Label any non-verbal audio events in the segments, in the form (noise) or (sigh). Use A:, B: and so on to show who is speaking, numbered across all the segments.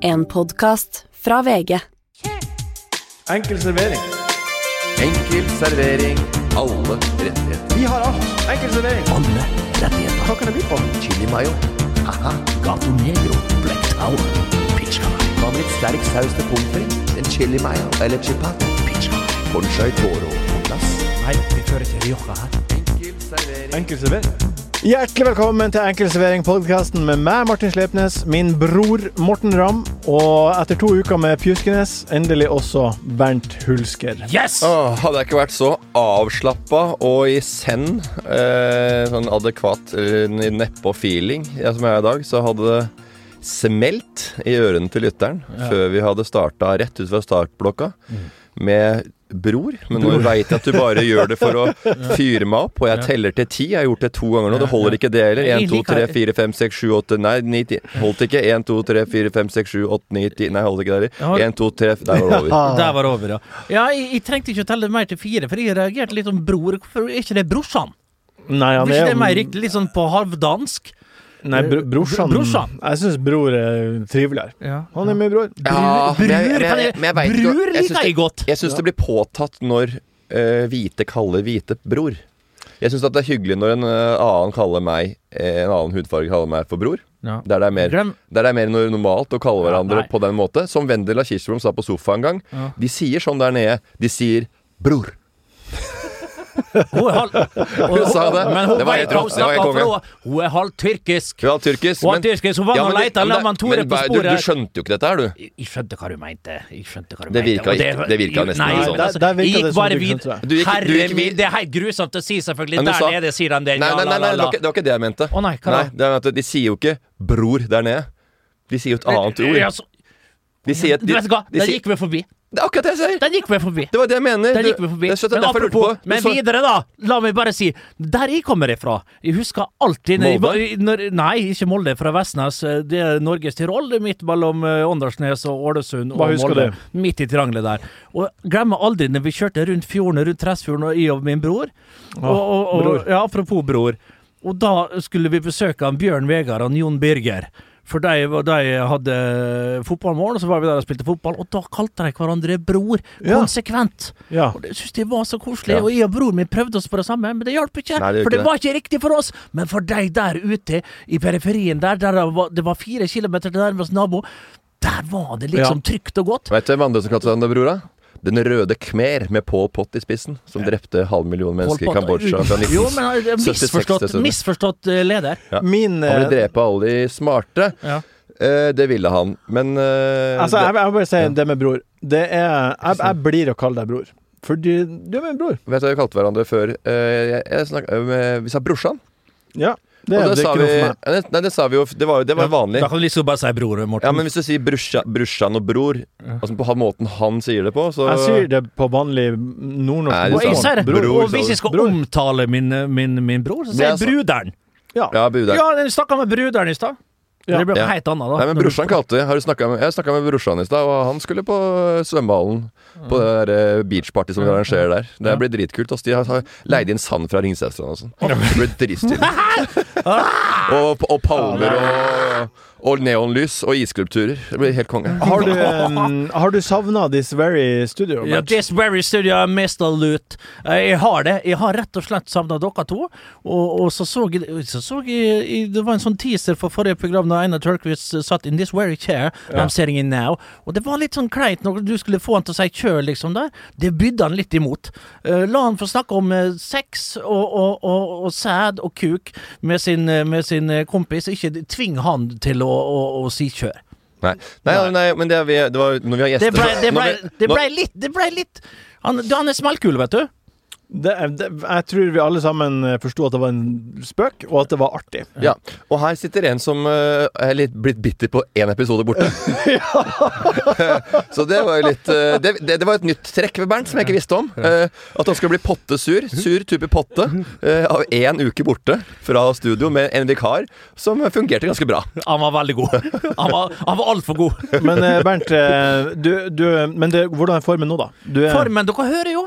A: En podkast fra VG.
B: Enkel servering.
C: Enkel servering. Alle rettigheter.
B: Vi har alt. Enkel servering.
D: Alle rettigheter.
B: Hva kan det by på?
C: Chili mayo. Haha.
D: Gato Negro. Black Tower. Pizza.
C: Hva med litt sterk saus til pommes frites? En chili mayo eller chipat?
D: Pizza.
C: Conchai toro på glass.
D: Nei, vi kjører til Rioja her.
C: Enkel servering.
B: Enkel servering. Hjertelig velkommen til Enkelservering-podkasten med meg, Martin Slepnes, min bror Morten Ramm, og etter to uker med Pjuskenes, endelig også Bernt Hulsker.
D: Yes!
C: Åh, hadde jeg ikke vært så avslappa og i send, eh, sånn adekvat eller nedpå feeling jeg som er i dag, så hadde det smelt i ørene til lytteren før vi hadde starta rett ut fra startblokka med Mm. Bror, men nå veit jeg at du bare gjør det for (laughs) å fyre meg opp, og jeg teller til ti. Jeg har gjort det to ganger nå. Det holder ikke, det heller. 1, 2, 3, 4, 5, 6, 7, 8, nei, 9, 10. Holdt ikke. 1, 2, 3, 4, 5, 6, 7, 8, 9, 10. Nei, holdt ikke det heller. 1, 2, 3 Der var det over.
E: Der var det over, ja. ja jeg, jeg trengte ikke å telle mer til fire, for jeg reagerte litt om bror. Hvorfor er ikke det brorsan?
B: Nei, han
E: Hvorfor er
B: er
E: ikke det mer riktig, litt sånn på halvdansk?
B: Nei, bro, brorsan.
E: Brorsan.
B: Jeg syns bror er triveligere.
E: Ja.
B: Han er min bror.
C: Ja,
E: Bror,
C: men jeg- men jeg-
E: kan jeg-
C: men jeg vet ikke-
E: bror
C: jeg syns
E: liker jeg godt.
C: Jeg syns det blir påtatt når eh, hvite kaller hvite bror. Jeg syns det er hyggelig når en eh, annen kaller meg eh, En annen hudfarge kaller meg for bror.
E: Ja.
C: Der det er mer,
E: Glem-
C: der det er mer nor- normalt å kalle
E: Ja,
C: hverandre
E: nei.
C: på den måte. Som Vendela Kirsebom sa på sofa en gang.
E: Ja.
C: De sier sånn der nede. De sier 'bror'.
E: Hun er halv...
C: (laughs) Hun sa det.
E: Men hun
C: Det var helt
E: vet hva
C: rått. Det var
E: hun snakker
C: helt
E: om, for hun- Hun er halvt tyrkisk.
C: Hun er tyrkisk.
E: Hun er tyrkisk. Hun var og
C: men det-
E: leita
C: men det-
E: med Tore
C: men
E: på
C: du- Du
E: sporet.
C: skjønte jo ikke dette her, du.
E: Jeg jeg skjønte hva du mente. Jeg skjønte hva du
C: Det
E: mente.
C: virka
E: Og
C: ikke- det virka nesten
E: nei,
C: ikke
B: sånn.
E: men altså,
B: Der- der virka
E: jeg gikk
B: det som
E: bare
B: du
E: vid-
B: skjønte
C: det. Du gikk- du
E: Herre
C: gikk
E: min,
C: vid-
E: det er helt grusomt å si, selvfølgelig.
C: Men du
E: Der
C: sa-
E: nede sier han det.
C: Nei, nei, nei, nei, det, var ikke, det var ikke det jeg mente.
E: Å nei, hva da?
C: nei, det er at De sier jo ikke 'bror' der nede. De sier jo et annet ord.
E: Ja, så-
C: De sier et,
E: Du
C: de,
E: vet hva,
C: de
E: den
C: sier,
E: gikk vi forbi.
C: det er akkurat det jeg sier!
E: Den gikk vi forbi.
C: Det var det jeg mener.
E: Der
C: Du-
E: gikk vi forbi.
C: Det er
E: Men
C: derfor jeg lurte
E: apropos,
C: på. Du
E: men
C: sa-
E: videre, da. La meg bare si. Der jeg kommer ifra. Jeg husker alltid når jeg var- når, Nei, ikke Molde, fra Vestnes. Det er Norges Tirol. Det er midt mellom eh, Åndalsnes og Ålesund.
B: Hva
E: og
B: husker
E: Molde.
B: du?
E: Midt i triangelet der. Og glemmer aldri når vi kjørte rundt fjorden, rundt Tresfjorden, og jeg og min bror. Og, og, og,
B: bror.
E: Ja, apropos bror. Og da skulle vi besøke han Bjørn Vegard og han Jon Birger. For de, var- de hadde fotballmål, og så var vi der og spilte fotball. Og da kalte de hverandre bror.
B: Ja.
E: Konsekvent.
B: Ja.
E: Og det synes de var så koselig.
C: Ja.
E: Og jeg og broren min prøvde oss på det samme, men det hjalp ikke.
C: Nei, det gjør
E: for det,
C: ikke det.
E: var ikke riktig for oss. Men for de der ute i periferien der, der det var, det var fire kilometer til nærmeste nabo, der var det liksom trygt og godt.
C: Vet du hvem andre som kalte seg det, brora? Den røde khmer med Pol Pot i spissen, som drepte halv million mennesker i
E: Pol Pot-
C: Kambodsja fra
E: Jo, men han er
C: 1976
E: misforstått,
C: til 70.
E: misforstått eh, leder.
B: Min
C: Han
B: eh,
C: ville drepe alle de smarte.
E: Ja.
C: Eh, det ville han, men eh,
B: Altså, jeg,
C: det,
B: jeg vil bare si det med bror. Det er Jeg, jeg blir å kalle deg bror. For du, du er min bror.
C: Vet du hva vi kalte hverandre før? Eh, jeg, jeg snak, eh, vi sa 'brorsan'.
B: Ja. Det,
C: og
B: det
C: det,
B: er
C: sa
B: ikke noe
C: vi,
B: for meg.
C: nei, det- nei, det sa vi jo Det var, det var vanlig.
E: Da kan du liksom bare si bror, Morten.
C: Ja, men hvis du sier brorsa- brorsan og bror, altså på han måten han sier det på, så
B: Jeg sier det på vanlig
C: Nei,
B: nordnorsk.
C: du
E: og jeg
C: sa-
E: sier det.
C: Bror,
E: og hvis
C: sa du.
E: jeg skal
B: Bror.
E: omtale min, eh, min, min bror, så
C: Det
E: sier
C: er
E: jeg bruderen.
B: Ja.
C: Ja, buderen.
E: Ja, den snakka med bruderen i stad.
B: Ja.
E: Det ble
C: Ja.
E: noe helt annet, da.
C: Nei, men
E: Når du-
C: brorsan kalte har du snakket med, Jeg snakka med brorsan i stad, og han skulle på øh, svømmehallen. På det der øh, beachparty som de arrangerer der. Det blir dritkult. ass. De har, har leid inn sand fra Ringsestrand og sånn. Det blir
E: (laughs)
C: dritstilig.
E: Ah!
C: og, og palmer og, og neonlys og isskulpturer. Det blir helt konge.
B: Har du, um, har du savna This Very Studio?
E: Ja,
B: Bert?
E: this very studio Mr. Loot. Eh, Jeg har det. Jeg har rett og slett savna dere to. Og, og så så jeg, så så jeg, jeg Det var en sånn teaser for forrige program da Einar Tørkvist eh, satt in this very chair. I'm sitting in now. Og det var litt sånn kleint når du skulle få han til å si 'kjør', liksom, der. Det bydde han litt imot. Eh, La han få snakke om eh, sex og, og, og, og sæd og kuk med sin, eh, med sin eh, kompis. Ikke tving han til å, å, å si 'kjør'.
C: Nei, nei, nei men det, er vi, det var når vi har
E: Det
C: gjester
E: ble, det ble,
C: når vi-
E: det ble
C: når-
E: litt Det ble litt Han, han er smellkul, vet du.
B: Det, er- det, jeg tror vi alle sammen eh, forsto at det var en spøk, og at det var artig.
C: ja. Og her sitter en som øh, er litt blitt bitter på én episode
E: (laughs)
C: borte. (laughs) Så det var jo litt eh, det, det, det var et nytt trekk ved Bernt som jeg ikke visste om. Eh, At han skulle bli pottesur. Sur type potte. eh, Av én uke borte fra studio med en vikar som fungerte ganske bra.
E: Han var veldig god. Han var, han var
C: (laughs)
E: altfor god.
B: Men eh, Bernt, eh, du, du, men det, hvordan er formen nå, da? Du er,
E: Formen, dere hører jo.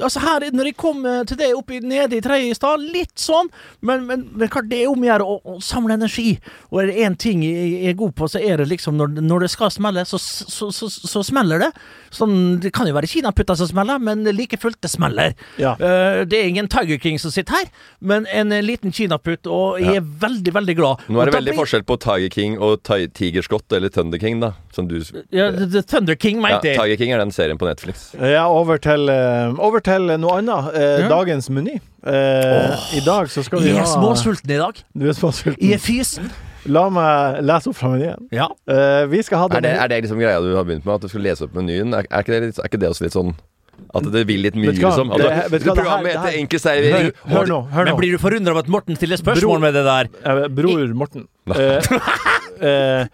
E: Altså her, Når jeg kom eh, til deg oppe i- nede i treet i stad, litt sånn, men, men, men klart det er om å gjøre å, å samle energi. Og er det én ting jeg jeg er god på, så er det liksom når, når det skal smelle, så, så, så, så smeller det. Sånn, Det kan jo være kinaputter som smeller, men like fullt, det smeller.
B: Ja.
E: Eh, det er ingen Tiger King som sitter her, men en eh, liten kinaputt, og jeg er veldig, veldig glad.
C: Nå er
E: Og
C: det
E: da
C: veldig
E: blir-
C: forskjell på Tiger King og Ti- Tigerskott eller Thunder King, da. Som du
E: Ja, The The Thunder King,
C: ja,
E: mente jeg.
C: Tiger King er den serien på Netflix.
B: Ja, over til, eh, over til noe annet. Eh, Dagens meny. Eh, I dag så skal vi
E: Jeg
B: ha
E: er småsulten i dag.
B: Du er
E: Jeg er
B: småsulten.
E: fysen.
B: La meg lese opp fra menyen.
E: Ja.
B: Eh, vi skal ha
C: Er
B: den
C: det, er det liksom greia du har begynt med? At du skal lese opp menyen? Er, er, ikke det, litt- er ikke det også litt sånn at det vil litt mye,
B: Vet du hva?
C: liksom? At
B: Det-
C: du-
B: vet du hva, det her-
C: Programmet
B: det her-
C: heter Enkel servering.
B: Hør, hør nå. hør
E: Men
B: nå
E: blir du forundra over at Morten stiller spørsmål
B: Bror-
E: med det der?
B: Eh, Bror Morten. Eh, eh,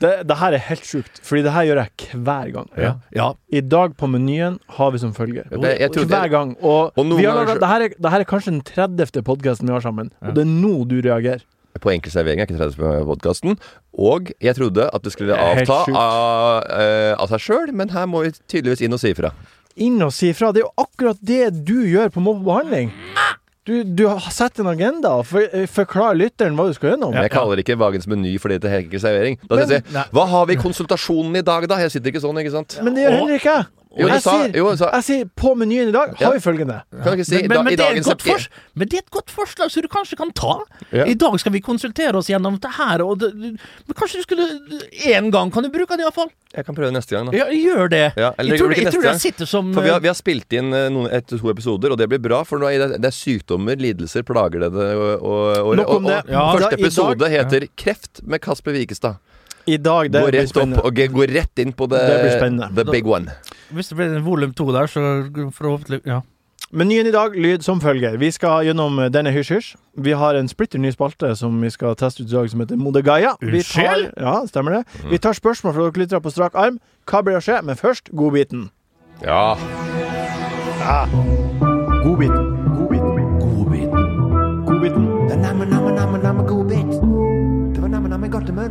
B: det, det her er helt sjukt, Fordi det her gjør jeg hver gang.
E: Ja.
B: I dag på menyen har vi som følger.
C: Det- jeg trodde-
B: Hver gang. Og,
C: Og noen
B: vi har
C: ganger
B: laget,
C: så-
B: det, her er, det her er kanskje den 30. podkasten vi har sammen, og det er nå du reagerer.
C: På Enkel servering er ikke 30 på podkasten. Og jeg trodde at det skulle
B: Det er helt
C: avta
B: sjukt.
C: av, eh, av seg sjøl, men her må vi tydeligvis inn og si ifra.
B: Inn og si ifra. Det er jo akkurat det du gjør på Mobb og behandling. Du, du har sett en agenda. For, forklar lytteren hva du skal gjennom.
C: Men jeg kaller det ikke Vagens meny fordi det heter Enkel servering. Da
B: Men-
C: sier jeg hva har vi i konsultasjonen i dag, da? Jeg sitter ikke sånn, ikke sant?
B: Men det gjør heller ikke jeg.
C: Jo, du
B: Jeg
C: sa-
B: sier,
C: jo, du sa-
B: jeg sier på menyen i dag
C: Ja.
B: har vi følgende.
C: Kan du ikke si
E: Men, men,
C: da-
E: men,
C: i
E: det er et
C: dagens-
E: godt fors men det er et godt forslag som du kanskje kan ta.
C: Ja.
E: I dag skal vi konsultere oss gjennom det her, og det, men kanskje du skulle Én gang kan du bruke det, iallfall.
C: Jeg kan prøve neste gang, da.
E: Ja, gjør det.
C: Ja, eller
E: jeg tror,
C: ikke
E: jeg
C: neste
E: tror
C: gang.
E: jeg sitter som
C: For vi
B: Mm.
C: har, vi har spilt inn eh, noen, et, to episoder, og det blir bra. For nå er det, det er sykdommer, lidelser, plager det det og, og, og,
B: Nok om
C: og,
B: det.
C: og
B: Ja, da,
C: Første
B: i dag-
C: episode heter 'Kreft' med Kasper Wikestad.
B: I dag, det
C: Gå
B: blir
C: rett opp
B: spennende.
C: og g- gå rett inn på the,
B: Det blir spennende.
C: the big one.
E: eh, Hvis det blir en volum to der, så forhåpentlig Ja.
B: Menyen i dag lyd som følger. Vi skal gjennom denne hysj-hysj. Vi har en splitter ny spalte som vi skal teste ut i dag, som heter Modegaia. Vi tar,
E: Unnskyld?
B: ja, stemmer det. Vi tar spørsmål fra dere lyttere på strak arm. Hva blir å skje? Men først godbiten.
C: Ja.
B: Godbiten. Godbiten.
D: Godbit.
B: Godbiten.
D: Det er namme, namme, namme, namme godbit. Det var namme, namme godt i munnen.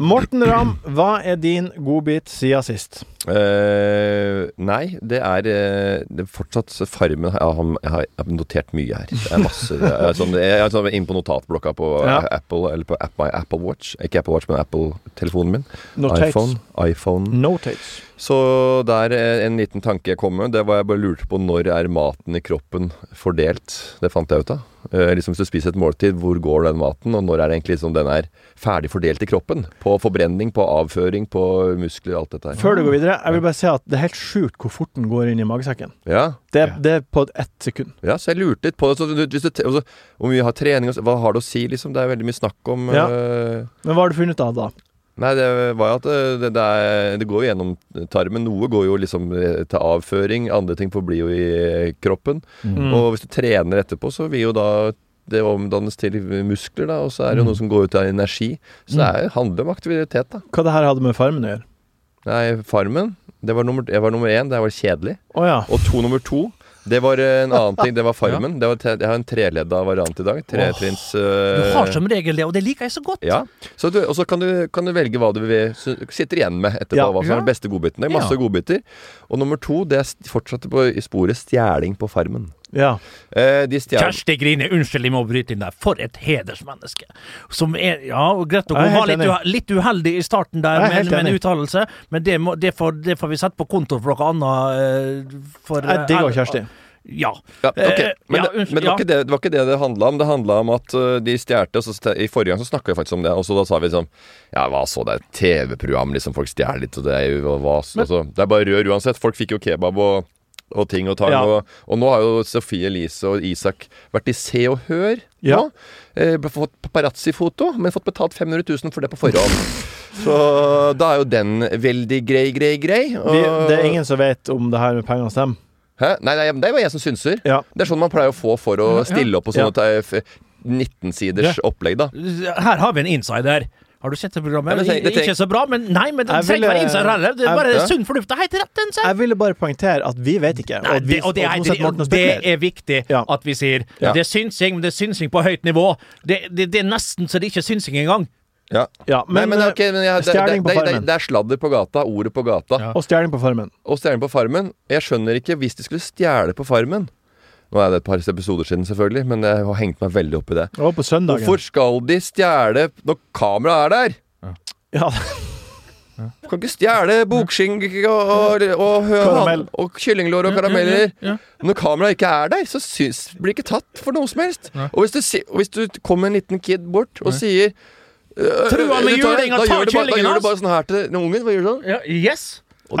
B: Morten Ramm, hva er din godbit siden sist?
C: Eh, nei, det er, eh, det er fortsatt Farmen. Jeg har, jeg har jeg har notert mye her. Det er masse det er, sånn, jeg er sånn inn på notatblokka på
B: Ja.
C: Apple Eller på app, my Apple Watch. Ikke Apple Watch, men Apple-telefonen min.
B: Notates.
C: iPhone. iPhone.
B: Notates.
C: Så der eh, en liten tanke jeg kom med, det var jeg bare lurte på når er maten i kroppen fordelt? Det fant jeg ut av. Eh, liksom Hvis du spiser et måltid, hvor går den maten? Og når er det egentlig liksom den er ferdig fordelt i kroppen? På forbrenning, på avføring, på muskler, alt dette her.
B: Før du går videre, jeg vil bare si at det er helt sjukt hvor fort den går inn i magesekken.
C: Ja,
B: Det, det er på ett sekund.
C: ja, så jeg lurte litt på det. Så du, hvis du, te- altså, hvor mye har trening og så- Hva har det å si, liksom? Det er veldig mye snakk om
B: Ja.
C: eh,
B: Men hva har du funnet ut av da?
C: Nei, det var jo at eh, det, det, er, det går jo gjennom tarmen. Noe går jo liksom eh, til avføring, andre ting forblir jo i eh, kroppen.
E: Mm.
C: Og hvis du trener etterpå, så vil jo da det omdannes til muskler, da, og så
E: Mm.
C: er det jo noe som går ut av energi. Så det er, handler om aktivitet, da.
B: Hva det her hadde med Farmen å gjøre?
C: Nei, Farmen, det var nummer, jeg var nummer én, det var kjedelig.
B: Å ja.
C: Og to nummer to, det var eh, en annen ting,
E: (laughs)
C: det var Farmen. Det var te, jeg har en treledda variant i dag. Tretrins
E: Du
C: eh,
E: har som regel det, og det liker jeg så godt.
C: Ja, så du, og så kan du, kan du velge hva du vil, sy- sitter igjen med etterpå.
B: Ja.
C: Hva som er den beste godbiten. Det er masse
E: Ja.
C: godbiter. Og nummer to, det er st- fortsatt på i sporet stjeling på Farmen.
B: Ja.
C: Eh, de stjal
E: Kjersti Grine, unnskyld, jeg må bryte inn der. For et hedersmenneske. Som er Ja, og greit nok,
B: Jeg er
E: hun
B: helt
E: var litt,
B: enig.
E: uhe- litt uheldig i starten der
B: Jeg er
E: med,
B: helt
E: med en
B: enig.
E: uttalelse, men det, må, det, får, det får vi sette på konto for noe annet. eh, For,
B: Jeg digger Kjersti.
E: Ja.
C: ja, ok. Men,
E: Eh, ja,
C: det- men det,
E: unnskyld,
C: var
E: ja.
C: ikke det, det var ikke det det handla om. Det handla om at eh, de stjal. I forrige gang så snakka vi faktisk om det, og så da sa vi liksom Ja, hva så det er et TV-program, liksom. Folk stjeler litt, og det er jo hva så altså, Det er bare rør uansett. Folk fikk jo kebab og, og ting og tang.
B: Ja.
C: Og, og nå har jo Sofie Elise og Isak vært i Se og Hør
B: Ja.
C: nå. Eh, fått paparazzi-foto, men fått betalt 500 000 for det på forhånd.
B: (laughs)
C: Så da er jo den veldig grei, grei, grei. Og,
B: Vi, det er ingen som vet om det her med pengene stemmer.
C: Hæ? Nei, nei, det var jeg som synser.
B: Ja.
C: Det er sånn man pleier å få for å stille opp på
B: Ja.
C: sånne te- f- 19-siders opplegg, da.
E: Her har vi en insider. Har du sett det programmet?
C: Ja, men tenk- det
E: Ik- ikke
C: tenk-
E: så bra, men nei, men den
B: Jeg
E: trenger
B: ville-
E: være insider heller. Det er bare
C: Jeg-
E: sunn fornuft. Det er helt rett, den sier.
B: Jeg ville bare poengtere at vi vet ikke.
E: Nei,
B: at vi,
E: det, og det,
B: at nå
E: er,
B: setter Morten og
E: det, det
B: spekulerer.
E: er viktig
B: Ja.
E: at vi sier.
C: Ja.
E: Det er synsing, men det er synsing på høyt nivå. Det, det, det er nesten så det ikke er synsing engang.
C: Ja.
B: Ja,
C: Nei,
B: men, eh,
C: men, ok, men jeg, det, det,
B: stjerning på
C: det, det,
B: farmen.
C: det er sladder på gata, ordet på gata.
E: Ja.
B: Og stjerning på farmen.
C: Og stjernen på farmen. Jeg skjønner ikke hvis de skulle stjele på farmen. Nå er det et par episoder siden, selvfølgelig, men jeg har hengt meg veldig opp i det.
B: Og på søndagen.
C: Hvorfor skal de stjele når kameraet er der?
B: (laughs) Ja,
C: Du kan ikke stjele bokskinke og, og, og,
B: Karamell.
C: og, og kyllinglår og karameller. Når kameraet ikke er der, så syns, blir det ikke tatt for noe som helst. Og hvis, du, si- og hvis du kommer en liten kid bort og sier øh,
E: Trua med
C: du tar-
E: juling
C: da
E: og
C: gjør du
E: ta
C: bare- Da
E: kyllingen
C: gjør
E: hans.
C: du bare sånn her til den ungen. Hva gjør du sånn?
E: yes.
C: Og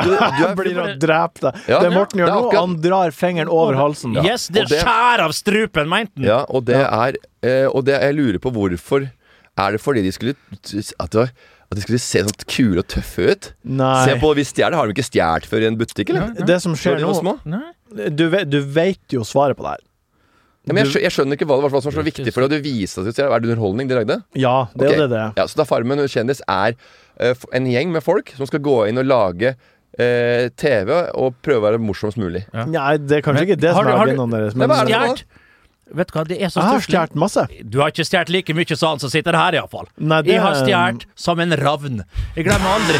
B: (laughs)
C: du, du
B: jeg
C: er,
B: blir å drepe deg.
C: Ja.
B: det Morten gjør
C: Det er
B: nå,
C: akkurat-
B: han drar fingeren over halsen.
E: Yes, det
C: Og
E: er
C: det-
E: skjær av strupen, mente han.
C: ja, og det er eh, Og det, jeg lurer på hvorfor. Er det fordi de skulle At, det var, at de skulle se sånn kule og tøffe ut?
B: Nei.
C: Se på Hvis stjeler, har de ikke stjålet før i en butikk, eller?
B: Det som
C: Når
B: skjer
C: de var
B: nå
C: små?
B: du vet, du vet jo svaret på det her.
C: Ja, men jeg, skjø- jeg skjønner ikke hva det var som var så viktig for deg. Du viste at du stjal. Er det underholdning de lagde?
B: Ja, det er
C: Ok.
B: jo det det er.
C: Ja, så da Farmen og kjendis er eh, f- en gjeng med folk som skal gå inn og lage eh, TV og prøve å være morsomst mulig.
B: Nei, det er kanskje
E: Men
B: ikke det
E: har
B: som
E: du-
B: er
E: har du-
B: agendaen deres,
C: Nei,
B: men
C: hva er det?
E: Stjert. Vet du hva, det er så
B: jeg har
E: stusslig.
B: stjålet masse.
E: Du har ikke stjålet like mye som han som sitter her, iallfall.
B: Nei, det
E: Jeg har
B: er-
E: stjålet som en ravn. Jeg glemmer aldri